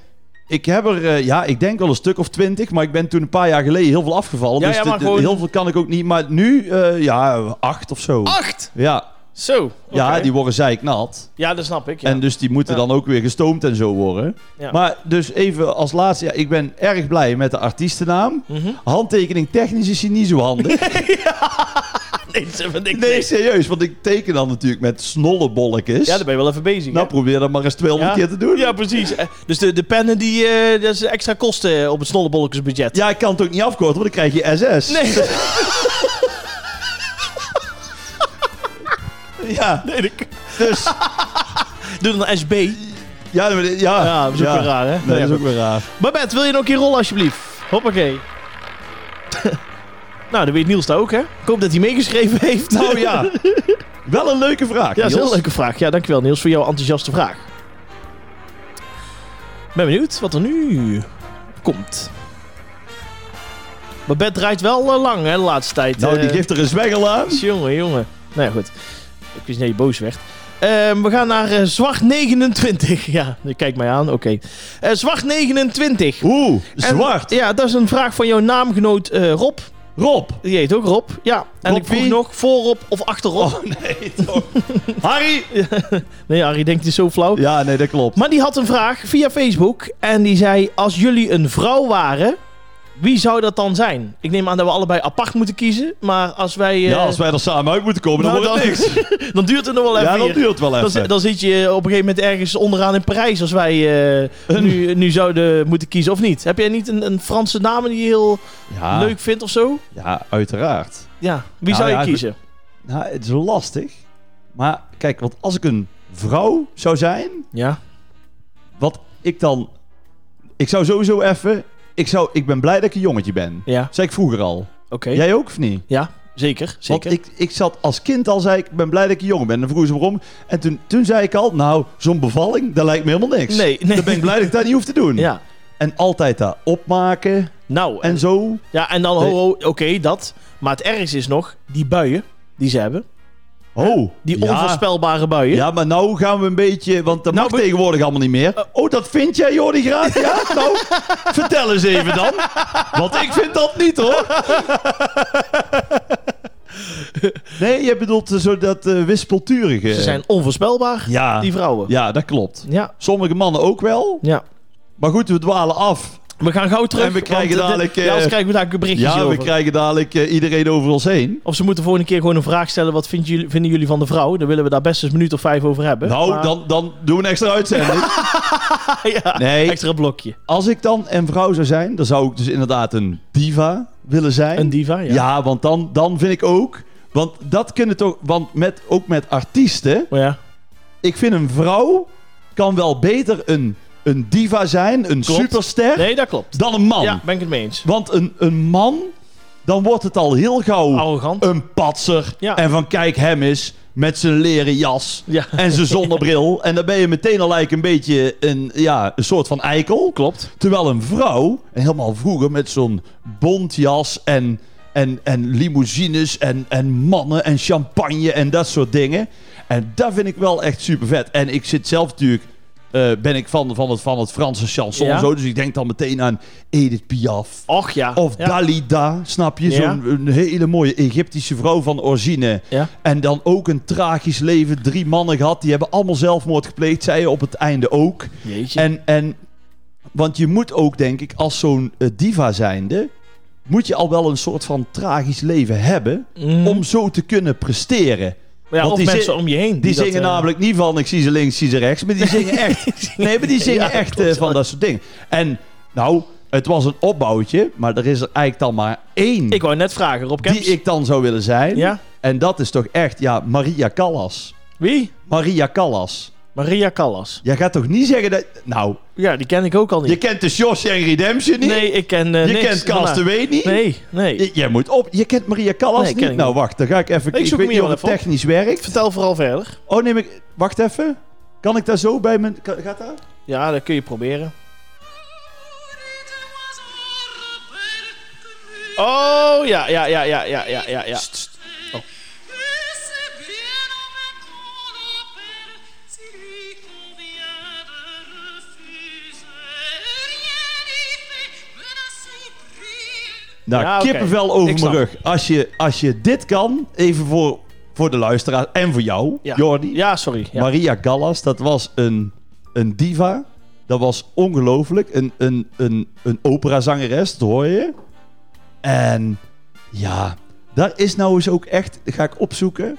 [SPEAKER 2] Ik heb er, eh, ja, ik denk wel een stuk of twintig, maar ik ben toen een paar jaar geleden heel veel afgevallen.
[SPEAKER 1] Ja,
[SPEAKER 2] dus
[SPEAKER 1] ja,
[SPEAKER 2] dit-
[SPEAKER 1] maar gewoon-
[SPEAKER 2] heel veel kan ik ook niet, maar nu, eh, ja, acht of zo.
[SPEAKER 1] Acht!
[SPEAKER 2] Ja,
[SPEAKER 1] Zo.
[SPEAKER 2] ja,
[SPEAKER 1] oké.
[SPEAKER 2] die worden zeiknat.
[SPEAKER 1] ja, dat snap ik. Ja.
[SPEAKER 2] En dus die moeten
[SPEAKER 1] Ja.
[SPEAKER 2] dan ook weer gestoomd en zo worden.
[SPEAKER 1] Ja.
[SPEAKER 2] Maar dus even als laatste, ja, ik ben erg blij met de artiestennaam.
[SPEAKER 1] Mhm.
[SPEAKER 2] Handtekening technisch is hij niet zo handig.
[SPEAKER 1] Nee, dat vind ik
[SPEAKER 2] nee,
[SPEAKER 1] niks.
[SPEAKER 2] serieus, want ik teken dan natuurlijk met snollebolletjes.
[SPEAKER 1] Ja, daar ben je wel even bezig.
[SPEAKER 2] nou,
[SPEAKER 1] hè?
[SPEAKER 2] probeer dat maar eens 200
[SPEAKER 1] Ja.
[SPEAKER 2] keer te doen.
[SPEAKER 1] Ja, precies. Eh, Dus de, de pennen, die, eh, dat is extra kosten eh, op het snollebolletjesbudget.
[SPEAKER 2] Ja, ik kan het ook niet afkorten, want dan krijg je SS.
[SPEAKER 1] Nee,
[SPEAKER 2] Ja,
[SPEAKER 1] nee, ik
[SPEAKER 2] dus...
[SPEAKER 1] doe dan SB.
[SPEAKER 2] Ja, maar dit- Ah, ja,
[SPEAKER 1] Ja, dat is ook weer raar, hè?
[SPEAKER 2] Nee,
[SPEAKER 1] Ja,
[SPEAKER 2] dat is
[SPEAKER 1] goed.
[SPEAKER 2] ook weer raar.
[SPEAKER 1] Babette, wil je nog een keer rollen alsjeblieft? Hoppakee. nou, dan weet Niels dat ook, hè? Ik hoop dat hij meegeschreven heeft.
[SPEAKER 2] Nou ja, wel een leuke
[SPEAKER 1] Ja,
[SPEAKER 2] vraag,
[SPEAKER 1] dat is een
[SPEAKER 2] Niels.
[SPEAKER 1] heel leuke vraag. Ja, dankjewel Niels voor jouw enthousiaste vraag. Ben benieuwd wat er nu komt. Babette draait wel eh, lang, hè, de laatste tijd.
[SPEAKER 2] Nou, die
[SPEAKER 1] Eh,
[SPEAKER 2] geeft er een zweggel aan.
[SPEAKER 1] Jongen, jongen. Nou ja, goed. Ik wist niet dat je boos werd. Ehm, we gaan naar eh, Zwart 29. Ja, kijk mij aan. Oké. Eh, zwart 29.
[SPEAKER 2] Oeh,
[SPEAKER 1] En-
[SPEAKER 2] zwart.
[SPEAKER 1] ja, dat is een vraag van jouw naamgenoot eh, Rob.
[SPEAKER 2] Rob.
[SPEAKER 1] Die heet ook Rob. Ja. En
[SPEAKER 2] Rob
[SPEAKER 1] ik vroeg
[SPEAKER 2] wie?
[SPEAKER 1] nog voor Rob of achter Rob.
[SPEAKER 2] Oh nee, toch. Harry!
[SPEAKER 1] Nee, Harry denkt het is zo flauw.
[SPEAKER 2] Ja, nee, dat klopt.
[SPEAKER 1] Maar die had een vraag via Facebook. En die zei: Als jullie een vrouw waren, wie zou dat dan zijn? Ik neem aan dat we allebei apart moeten kiezen. Maar als wij. eh,
[SPEAKER 2] Ja, als wij er samen uit moeten komen, dan
[SPEAKER 1] nou,
[SPEAKER 2] wordt het niks.
[SPEAKER 1] dan duurt het nog wel even.
[SPEAKER 2] Ja, dat
[SPEAKER 1] hier.
[SPEAKER 2] duurt wel
[SPEAKER 1] Dan, zi-
[SPEAKER 2] even.
[SPEAKER 1] dan zit je op een gegeven moment ergens onderaan in Parijs. Als wij eh, nu, nu zouden moeten kiezen of niet. Heb jij niet een, een Franse naam die je heel
[SPEAKER 2] Ja,
[SPEAKER 1] leuk vindt of zo?
[SPEAKER 2] ja uiteraard.
[SPEAKER 1] Ja. Wie
[SPEAKER 2] Ah. Nou
[SPEAKER 1] zou je
[SPEAKER 2] ja,
[SPEAKER 1] kiezen?
[SPEAKER 2] Nou, het is lastig. Maar kijk, want als ik een vrouw zou zijn,
[SPEAKER 1] Ja.
[SPEAKER 2] wat ik dan... Ik zou sowieso even... Ik, zou, ik ben blij dat ik een jongetje ben.
[SPEAKER 1] Ja.
[SPEAKER 2] Zei ik vroeger al.
[SPEAKER 1] Oké.
[SPEAKER 2] Jij ook of niet?
[SPEAKER 1] Ja, zeker. zeker.
[SPEAKER 2] Want ik, ik zat als kind al, zei ik, ik ben blij dat ik een jongen ben. En dan vroegen ze waarom. En toen, toen zei ik al, nou, zo'n bevalling, dat lijkt me helemaal niks.
[SPEAKER 1] Nee, nee.
[SPEAKER 2] Dan ben ik blij dat ik dat niet hoef te doen.
[SPEAKER 1] Ja.
[SPEAKER 2] En altijd dat opmaken
[SPEAKER 1] Nou,
[SPEAKER 2] en zo.
[SPEAKER 1] Ja, en dan,
[SPEAKER 2] Nee.
[SPEAKER 1] ho, ho, oké, dat. Maar het ergste is nog, die buien die ze hebben.
[SPEAKER 2] Oh,
[SPEAKER 1] Die
[SPEAKER 2] ja.
[SPEAKER 1] onvoorspelbare buien.
[SPEAKER 2] Ja, maar nou gaan we een beetje... Want dat
[SPEAKER 1] Nou,
[SPEAKER 2] mag
[SPEAKER 1] we-
[SPEAKER 2] tegenwoordig allemaal niet meer. oh, dat vind jij, Jordi Graat? Ja? Nou, vertel eens even dan. Want ik vind dat niet, hoor. Nee, je bedoelt eh, zo dat eh, wispelturige.
[SPEAKER 1] Ze zijn onvoorspelbaar,
[SPEAKER 2] Ja.
[SPEAKER 1] die vrouwen.
[SPEAKER 2] ja, dat klopt.
[SPEAKER 1] ja.
[SPEAKER 2] Sommige mannen ook wel.
[SPEAKER 1] ja.
[SPEAKER 2] Maar goed, we dwalen af.
[SPEAKER 1] We gaan gauw terug.
[SPEAKER 2] En we krijgen
[SPEAKER 1] want, eh,
[SPEAKER 2] dadelijk,
[SPEAKER 1] dit-
[SPEAKER 2] eh,
[SPEAKER 1] ja, anders krijgen we daar een berichtje
[SPEAKER 2] Ja, we
[SPEAKER 1] over.
[SPEAKER 2] krijgen dadelijk eh, iedereen over ons heen.
[SPEAKER 1] Of ze moeten voor een keer gewoon een vraag stellen. Wat vindt jullie, vinden jullie van de vrouw? Dan willen we daar best eens een minuut of vijf over hebben.
[SPEAKER 2] Nou,
[SPEAKER 1] Maar-
[SPEAKER 2] dan, dan doen we een extra uitzending.
[SPEAKER 1] ja,
[SPEAKER 2] Nee,
[SPEAKER 1] extra blokje.
[SPEAKER 2] Als ik dan een vrouw zou zijn, dan zou ik dus inderdaad een diva willen zijn.
[SPEAKER 1] Een diva, ja.
[SPEAKER 2] ja. want dan, dan vind ik ook. Want dat kunnen toch. Want met, ook met artiesten.
[SPEAKER 1] Maar Oh ja,
[SPEAKER 2] Ik vind een vrouw kan wel beter een, een diva zijn, een
[SPEAKER 1] Klopt.
[SPEAKER 2] superster,
[SPEAKER 1] nee, dat klopt.
[SPEAKER 2] dan een man.
[SPEAKER 1] Ja, ben ik het mee eens.
[SPEAKER 2] Want een, een man dan wordt het al heel gauw
[SPEAKER 1] Arrogant.
[SPEAKER 2] een patser.
[SPEAKER 1] Ja.
[SPEAKER 2] En van kijk hem eens met zijn leren jas
[SPEAKER 1] Ja.
[SPEAKER 2] en zijn zonnebril. En dan ben je meteen al lijkt een beetje een, ja, een soort van eikel.
[SPEAKER 1] Klopt.
[SPEAKER 2] Terwijl een vrouw, en helemaal vroeger met zo'n bontjas en, en, en limousines en, en mannen en champagne en dat soort dingen. En dat vind ik wel echt super vet. En ik zit zelf natuurlijk, eh, ben ik van, van, het, van het Franse chanson
[SPEAKER 1] Ja.
[SPEAKER 2] zo. Dus ik denk dan meteen aan Edith Piaf.
[SPEAKER 1] Och ja.
[SPEAKER 2] Of
[SPEAKER 1] ja.
[SPEAKER 2] Dalida, snap je?
[SPEAKER 1] Ja.
[SPEAKER 2] Zo'n een hele mooie Egyptische vrouw van origine.
[SPEAKER 1] Ja.
[SPEAKER 2] En dan ook een tragisch leven. Drie mannen gehad, die hebben allemaal zelfmoord gepleegd. Zij op het einde ook.
[SPEAKER 1] Jeetje.
[SPEAKER 2] En, en, want je moet ook, denk ik, als zo'n eh, diva zijnde... moet je al wel een soort van tragisch leven hebben...
[SPEAKER 1] Mm.
[SPEAKER 2] om zo te kunnen presteren.
[SPEAKER 1] Maar ja,
[SPEAKER 2] want
[SPEAKER 1] of
[SPEAKER 2] die
[SPEAKER 1] mensen
[SPEAKER 2] zin-
[SPEAKER 1] om je heen.
[SPEAKER 2] Die
[SPEAKER 1] dat,
[SPEAKER 2] zingen
[SPEAKER 1] eh,
[SPEAKER 2] namelijk niet van ik zie ze links, ik zie ze rechts. Maar die zingen echt. nee, maar die zingen
[SPEAKER 1] Ja,
[SPEAKER 2] echt
[SPEAKER 1] klopt,
[SPEAKER 2] eh, van
[SPEAKER 1] ja.
[SPEAKER 2] dat soort dingen. En nou, het was een opbouwtje. Maar er is er eigenlijk dan maar één
[SPEAKER 1] Ik wou net vragen, Rob Kemps.
[SPEAKER 2] die ik dan zou willen zijn.
[SPEAKER 1] Ja?
[SPEAKER 2] En dat is toch echt, ja, Maria Callas.
[SPEAKER 1] Wie?
[SPEAKER 2] Maria Callas.
[SPEAKER 1] Maria Callas.
[SPEAKER 2] Jij gaat toch niet zeggen dat... Nou,
[SPEAKER 1] Ja, die ken ik ook al
[SPEAKER 2] je
[SPEAKER 1] niet.
[SPEAKER 2] kent de Josh en Redemption niet.
[SPEAKER 1] Nee, ik ken eh
[SPEAKER 2] je
[SPEAKER 1] niks.
[SPEAKER 2] kent
[SPEAKER 1] daarna.
[SPEAKER 2] Castaway niet.
[SPEAKER 1] Nee, nee.
[SPEAKER 2] Je- Jij moet op. Je kent Maria Callas
[SPEAKER 1] Nee, ken
[SPEAKER 2] niet.
[SPEAKER 1] ik
[SPEAKER 2] nou,
[SPEAKER 1] niet.
[SPEAKER 2] wacht. Dan ga ik
[SPEAKER 1] Ik zoek
[SPEAKER 2] even... weet
[SPEAKER 1] hem
[SPEAKER 2] niet
[SPEAKER 1] hier
[SPEAKER 2] hoe het
[SPEAKER 1] wel even op.
[SPEAKER 2] technisch werkt.
[SPEAKER 1] Vertel vooral verder.
[SPEAKER 2] Oh, neem ik... Wacht even. Kan ik daar zo bij mijn... kan- Gaat dat?
[SPEAKER 1] Ja, dat kun je proberen. Oh, ja, ja, ja, ja, ja, ja, ja. ja.
[SPEAKER 2] Nou,
[SPEAKER 1] Ja, oké.
[SPEAKER 2] kippenvel
[SPEAKER 1] Ik
[SPEAKER 2] over mijn
[SPEAKER 1] snap.
[SPEAKER 2] rug. Als je, als je dit kan, even voor, voor de luisteraar en voor jou,
[SPEAKER 1] ja.
[SPEAKER 2] Jordi.
[SPEAKER 1] Ja, sorry. Ja.
[SPEAKER 2] Maria Callas, dat was een, een diva. Dat was ongelooflijk. Een, een, een, een operazangeres, dat hoor je. En ja, daar is nou eens ook echt, ga ik opzoeken,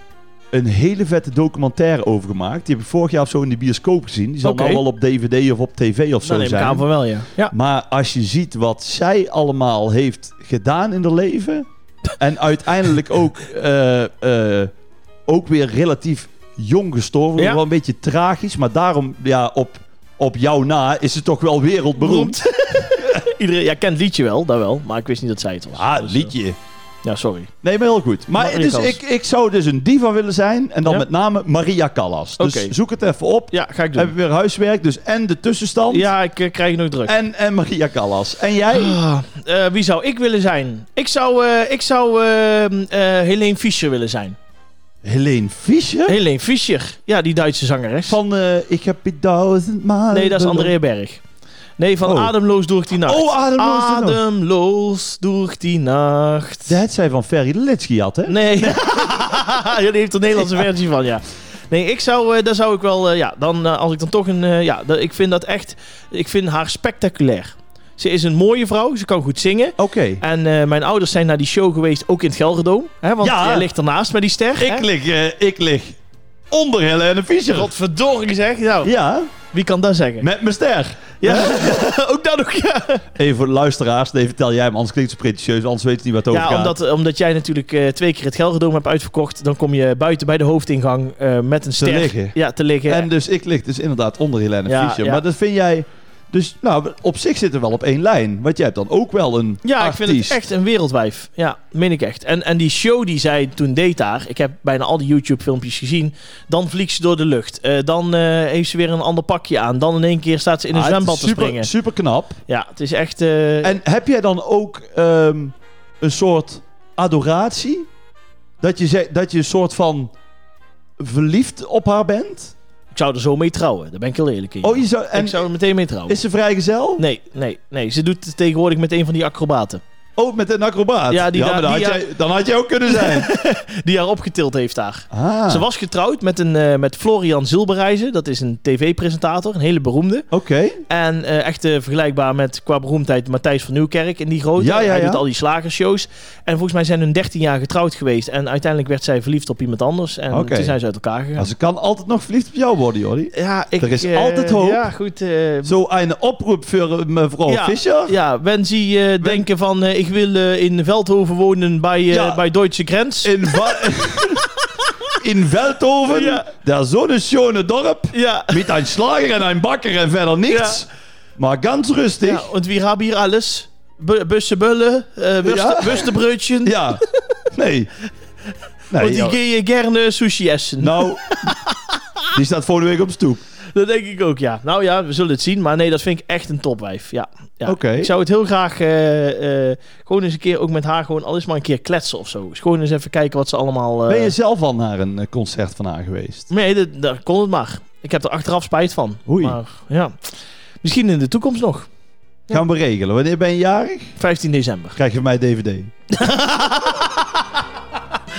[SPEAKER 2] een hele vette documentaire over gemaakt. Die heb ik vorig jaar of zo in de bioscoop gezien. Die zal
[SPEAKER 1] Oké.
[SPEAKER 2] nou wel op DVD of op tv of zo
[SPEAKER 1] Dan neem ik
[SPEAKER 2] zijn.
[SPEAKER 1] aan van wel, ja. Ja.
[SPEAKER 2] Maar als je ziet wat zij allemaal heeft gedaan in haar leven. En uiteindelijk ook, eh, eh, ook weer relatief jong gestorven.
[SPEAKER 1] Ja.
[SPEAKER 2] Wel een beetje tragisch. Maar daarom, ja, op, op jou na is ze toch wel wereldberoemd.
[SPEAKER 1] Iedereen, jij kent het liedje wel, dat wel. Maar ik wist niet dat zij het was.
[SPEAKER 2] Ah,
[SPEAKER 1] Dus, eh,
[SPEAKER 2] liedje.
[SPEAKER 1] ja, sorry.
[SPEAKER 2] Nee, maar heel goed. Maar
[SPEAKER 1] Maria
[SPEAKER 2] dus
[SPEAKER 1] Callas.
[SPEAKER 2] ik, ik zou dus een diva willen zijn. En dan
[SPEAKER 1] Ja.
[SPEAKER 2] met name Maria Callas. Dus
[SPEAKER 1] Oké.
[SPEAKER 2] zoek het even op.
[SPEAKER 1] Ja, ga ik
[SPEAKER 2] Heb je
[SPEAKER 1] doen.
[SPEAKER 2] weer huiswerk. Dus en de tussenstand.
[SPEAKER 1] Ja, ik eh, krijg nog druk.
[SPEAKER 2] En, en Maria Callas. En jij?
[SPEAKER 1] Ah, eh, wie zou ik willen zijn? Ik zou, eh, ik zou eh, eh, Helene Fischer willen zijn.
[SPEAKER 2] Helene Fischer?
[SPEAKER 1] Helene Fischer. Ja, die Duitse zangeres.
[SPEAKER 2] Van eh, ik heb je duizend maal.
[SPEAKER 1] nee, dat is André Berg. Nee, van
[SPEAKER 2] Oh.
[SPEAKER 1] Ademloos door die nacht.
[SPEAKER 2] Oh, ademloos. adem.
[SPEAKER 1] Ademloos door die nacht.
[SPEAKER 2] Dat zij van Ferry Litsky had, hè?
[SPEAKER 1] Nee. ja, die heeft er een Nederlandse versie van, ja. Nee, ik zou, eh, daar zou ik wel, eh, ja, dan, eh, als ik dan toch een, eh, ja, dat- ik vind dat echt, ik vind haar spectaculair. Ze is een mooie vrouw, ze kan goed zingen.
[SPEAKER 2] Oké.
[SPEAKER 1] En eh, mijn ouders zijn naar die show geweest, ook in het Gelredome. Hè, want
[SPEAKER 2] Ja.
[SPEAKER 1] jij ligt ernaast met die ster.
[SPEAKER 2] Ik lig, eh, ik lig onder Helene Fischer.
[SPEAKER 1] Godverdorie zeg. Nou,
[SPEAKER 2] Ja,
[SPEAKER 1] wie kan dat zeggen?
[SPEAKER 2] met mijn ster.
[SPEAKER 1] Ja, ook dat ook, ja.
[SPEAKER 2] Even voor de luisteraars, nee, vertel jij hem, anders klinkt het pretentieus, anders weet je niet wat het over
[SPEAKER 1] Ja,
[SPEAKER 2] gaat.
[SPEAKER 1] omdat, omdat jij natuurlijk eh, twee keer het Gelredome hebt uitverkocht. Dan kom je buiten bij de hoofdingang eh, met een ster.
[SPEAKER 2] liggen.
[SPEAKER 1] Ja, te liggen.
[SPEAKER 2] En dus ik lig dus inderdaad onder Helene
[SPEAKER 1] eh, Ja,
[SPEAKER 2] Fischer.
[SPEAKER 1] ja.
[SPEAKER 2] Maar dat vind jij... Dus nou, op zich zitten we wel op één lijn. Want jij hebt dan ook wel een
[SPEAKER 1] Ja,
[SPEAKER 2] artiest.
[SPEAKER 1] ik vind het echt een wereldwijf. Ja, meen ik echt. En, en die show die zij toen deed daar, ik heb bijna al die YouTube-filmpjes gezien. Dan vliegt ze door de lucht. Eh, dan eh, heeft ze weer een ander pakje aan. Dan in één keer staat ze in een
[SPEAKER 2] Ah, het is
[SPEAKER 1] zwembad te
[SPEAKER 2] super,
[SPEAKER 1] springen.
[SPEAKER 2] Super knap.
[SPEAKER 1] Ja, het is echt. eh,
[SPEAKER 2] En heb jij dan ook ehm, een soort adoratie? Dat je, zegt- dat je een soort van verliefd op haar bent?
[SPEAKER 1] Ik zou er zo mee trouwen, daar ben ik heel eerlijk in.
[SPEAKER 2] Oh, je zou, en
[SPEAKER 1] Ik zou er meteen mee trouwen.
[SPEAKER 2] is ze vrijgezel?
[SPEAKER 1] Nee, nee, nee. Ze doet het tegenwoordig met een van die acrobaten.
[SPEAKER 2] Oh, met een acrobaat.
[SPEAKER 1] Ja, die
[SPEAKER 2] maar
[SPEAKER 1] daar-
[SPEAKER 2] dan,
[SPEAKER 1] die
[SPEAKER 2] had
[SPEAKER 1] ja-
[SPEAKER 2] jij, dan had jij ook kunnen zijn.
[SPEAKER 1] Die haar opgetild heeft daar.
[SPEAKER 2] ah,
[SPEAKER 1] Ze was getrouwd met, een, eh, met Florian Zilberijzen. Dat is een tv-presentator, een hele beroemde.
[SPEAKER 2] oké.
[SPEAKER 1] En eh, echt eh, vergelijkbaar met qua beroemdheid Matthijs van Nieuwkerk in die grote.
[SPEAKER 2] Ja, ja,
[SPEAKER 1] Hij
[SPEAKER 2] ja.
[SPEAKER 1] doet al die slagershows. En volgens mij zijn hun 13 jaar getrouwd geweest. En uiteindelijk werd zij verliefd op iemand anders. En
[SPEAKER 2] Oké.
[SPEAKER 1] toen zijn ze uit elkaar gegaan.
[SPEAKER 2] Ja, ze kan altijd nog verliefd op jou worden, Jordi.
[SPEAKER 1] Ja, ik,
[SPEAKER 2] Er is
[SPEAKER 1] eh,
[SPEAKER 2] altijd hoop.
[SPEAKER 1] Ja, goed. eh,
[SPEAKER 2] Zo een oproep voor eh, mevrouw
[SPEAKER 1] Ja,
[SPEAKER 2] Fischer.
[SPEAKER 1] ja, wenn Sie eh, denken van eh, ik wil eh, in Veldhoven wonen bij, eh,
[SPEAKER 2] Ja. Eh,
[SPEAKER 1] bij Duitse grens.
[SPEAKER 2] In, Va- in Veldhoven.
[SPEAKER 1] Ja.
[SPEAKER 2] Daar zo'n schone dorp.
[SPEAKER 1] ja.
[SPEAKER 2] Met een slager en een bakker en verder niks. Maar ganz rustig.
[SPEAKER 1] ja, en we hebben hier alles. bu- bussenbullen, eh
[SPEAKER 2] Ja.
[SPEAKER 1] wustebreutje.
[SPEAKER 2] Ja. Nee.
[SPEAKER 1] want
[SPEAKER 2] Nee,
[SPEAKER 1] die
[SPEAKER 2] ja.
[SPEAKER 1] kun je gerne sushi essen.
[SPEAKER 2] Nou, die staat volgende week op stoep.
[SPEAKER 1] Dat denk ik ook, ja. Nou ja, we zullen het zien. Maar nee, dat vind ik echt een topwijf. Ja. ja.
[SPEAKER 2] Oké.
[SPEAKER 1] Ik zou het heel graag eh, eh, gewoon eens een keer ook met haar gewoon al eens maar een keer kletsen of zo. Dus gewoon eens even kijken wat ze allemaal... eh,
[SPEAKER 2] Ben je zelf al naar een eh, concert van haar geweest?
[SPEAKER 1] Nee, dat, daar kon het maar. Ik heb er achteraf spijt van.
[SPEAKER 2] Oei.
[SPEAKER 1] Maar ja, misschien in de toekomst nog.
[SPEAKER 2] Gaan we regelen. Wanneer ben je jarig?
[SPEAKER 1] 15 december.
[SPEAKER 2] Krijg je van mij DVD.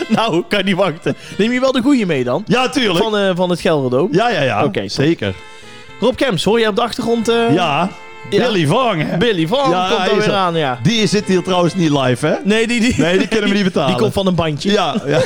[SPEAKER 1] nou, kan niet wachten. Neem je wel de goeie mee dan?
[SPEAKER 2] Ja, tuurlijk.
[SPEAKER 1] Van, eh, van het Gelredome.
[SPEAKER 2] Ja, ja, ja.
[SPEAKER 1] Oké, top.
[SPEAKER 2] Zeker.
[SPEAKER 1] Rob Kems, hoor je op de achtergrond? eh,
[SPEAKER 2] Ja. Billy Vang, hè?
[SPEAKER 1] Billy van
[SPEAKER 2] Ja,
[SPEAKER 1] komt
[SPEAKER 2] hij
[SPEAKER 1] er
[SPEAKER 2] is
[SPEAKER 1] weer
[SPEAKER 2] er.
[SPEAKER 1] aan, ja.
[SPEAKER 2] Die zit hier trouwens niet live, hè?
[SPEAKER 1] Nee, die, die,
[SPEAKER 2] Nee, die kunnen we niet betalen.
[SPEAKER 1] die komt van een bandje.
[SPEAKER 2] Ja, ja.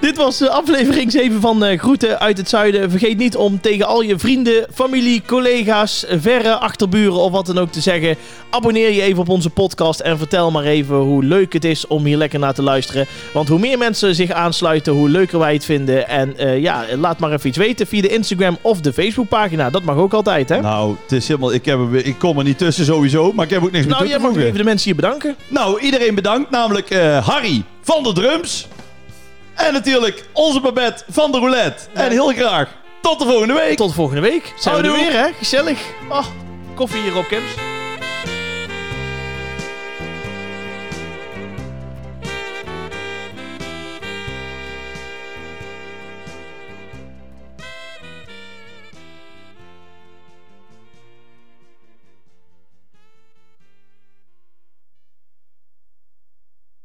[SPEAKER 1] Dit was eh, aflevering 7 van eh, Groeten uit het Zuiden. Vergeet niet om tegen al je vrienden, familie, collega's, verre achterburen of wat dan ook te zeggen. Abonneer je even op onze podcast en vertel maar even hoe leuk het is om hier lekker naar te luisteren. Want hoe meer mensen zich aansluiten, hoe leuker wij het vinden. En eh, ja, laat maar even iets weten via de Instagram of de Facebookpagina. Dat mag ook altijd, hè? Nou,
[SPEAKER 2] Nou, het is helemaal... Ik, heb, er weer- ik kom er niet tussen sowieso, maar ik heb ook niks meer toe
[SPEAKER 1] Nou, jij
[SPEAKER 2] te
[SPEAKER 1] mag nog
[SPEAKER 2] voegen.
[SPEAKER 1] even de mensen hier bedanken.
[SPEAKER 2] Nou, iedereen bedankt. Namelijk eh, Harry van de Drums. En natuurlijk onze Babette van de Roulette. En heel graag tot de volgende week.
[SPEAKER 1] Tot volgende week. Zijn we er
[SPEAKER 2] Houdoe.
[SPEAKER 1] weer, hè? Gezellig. Oh, Ah, koffie hier op, Kems.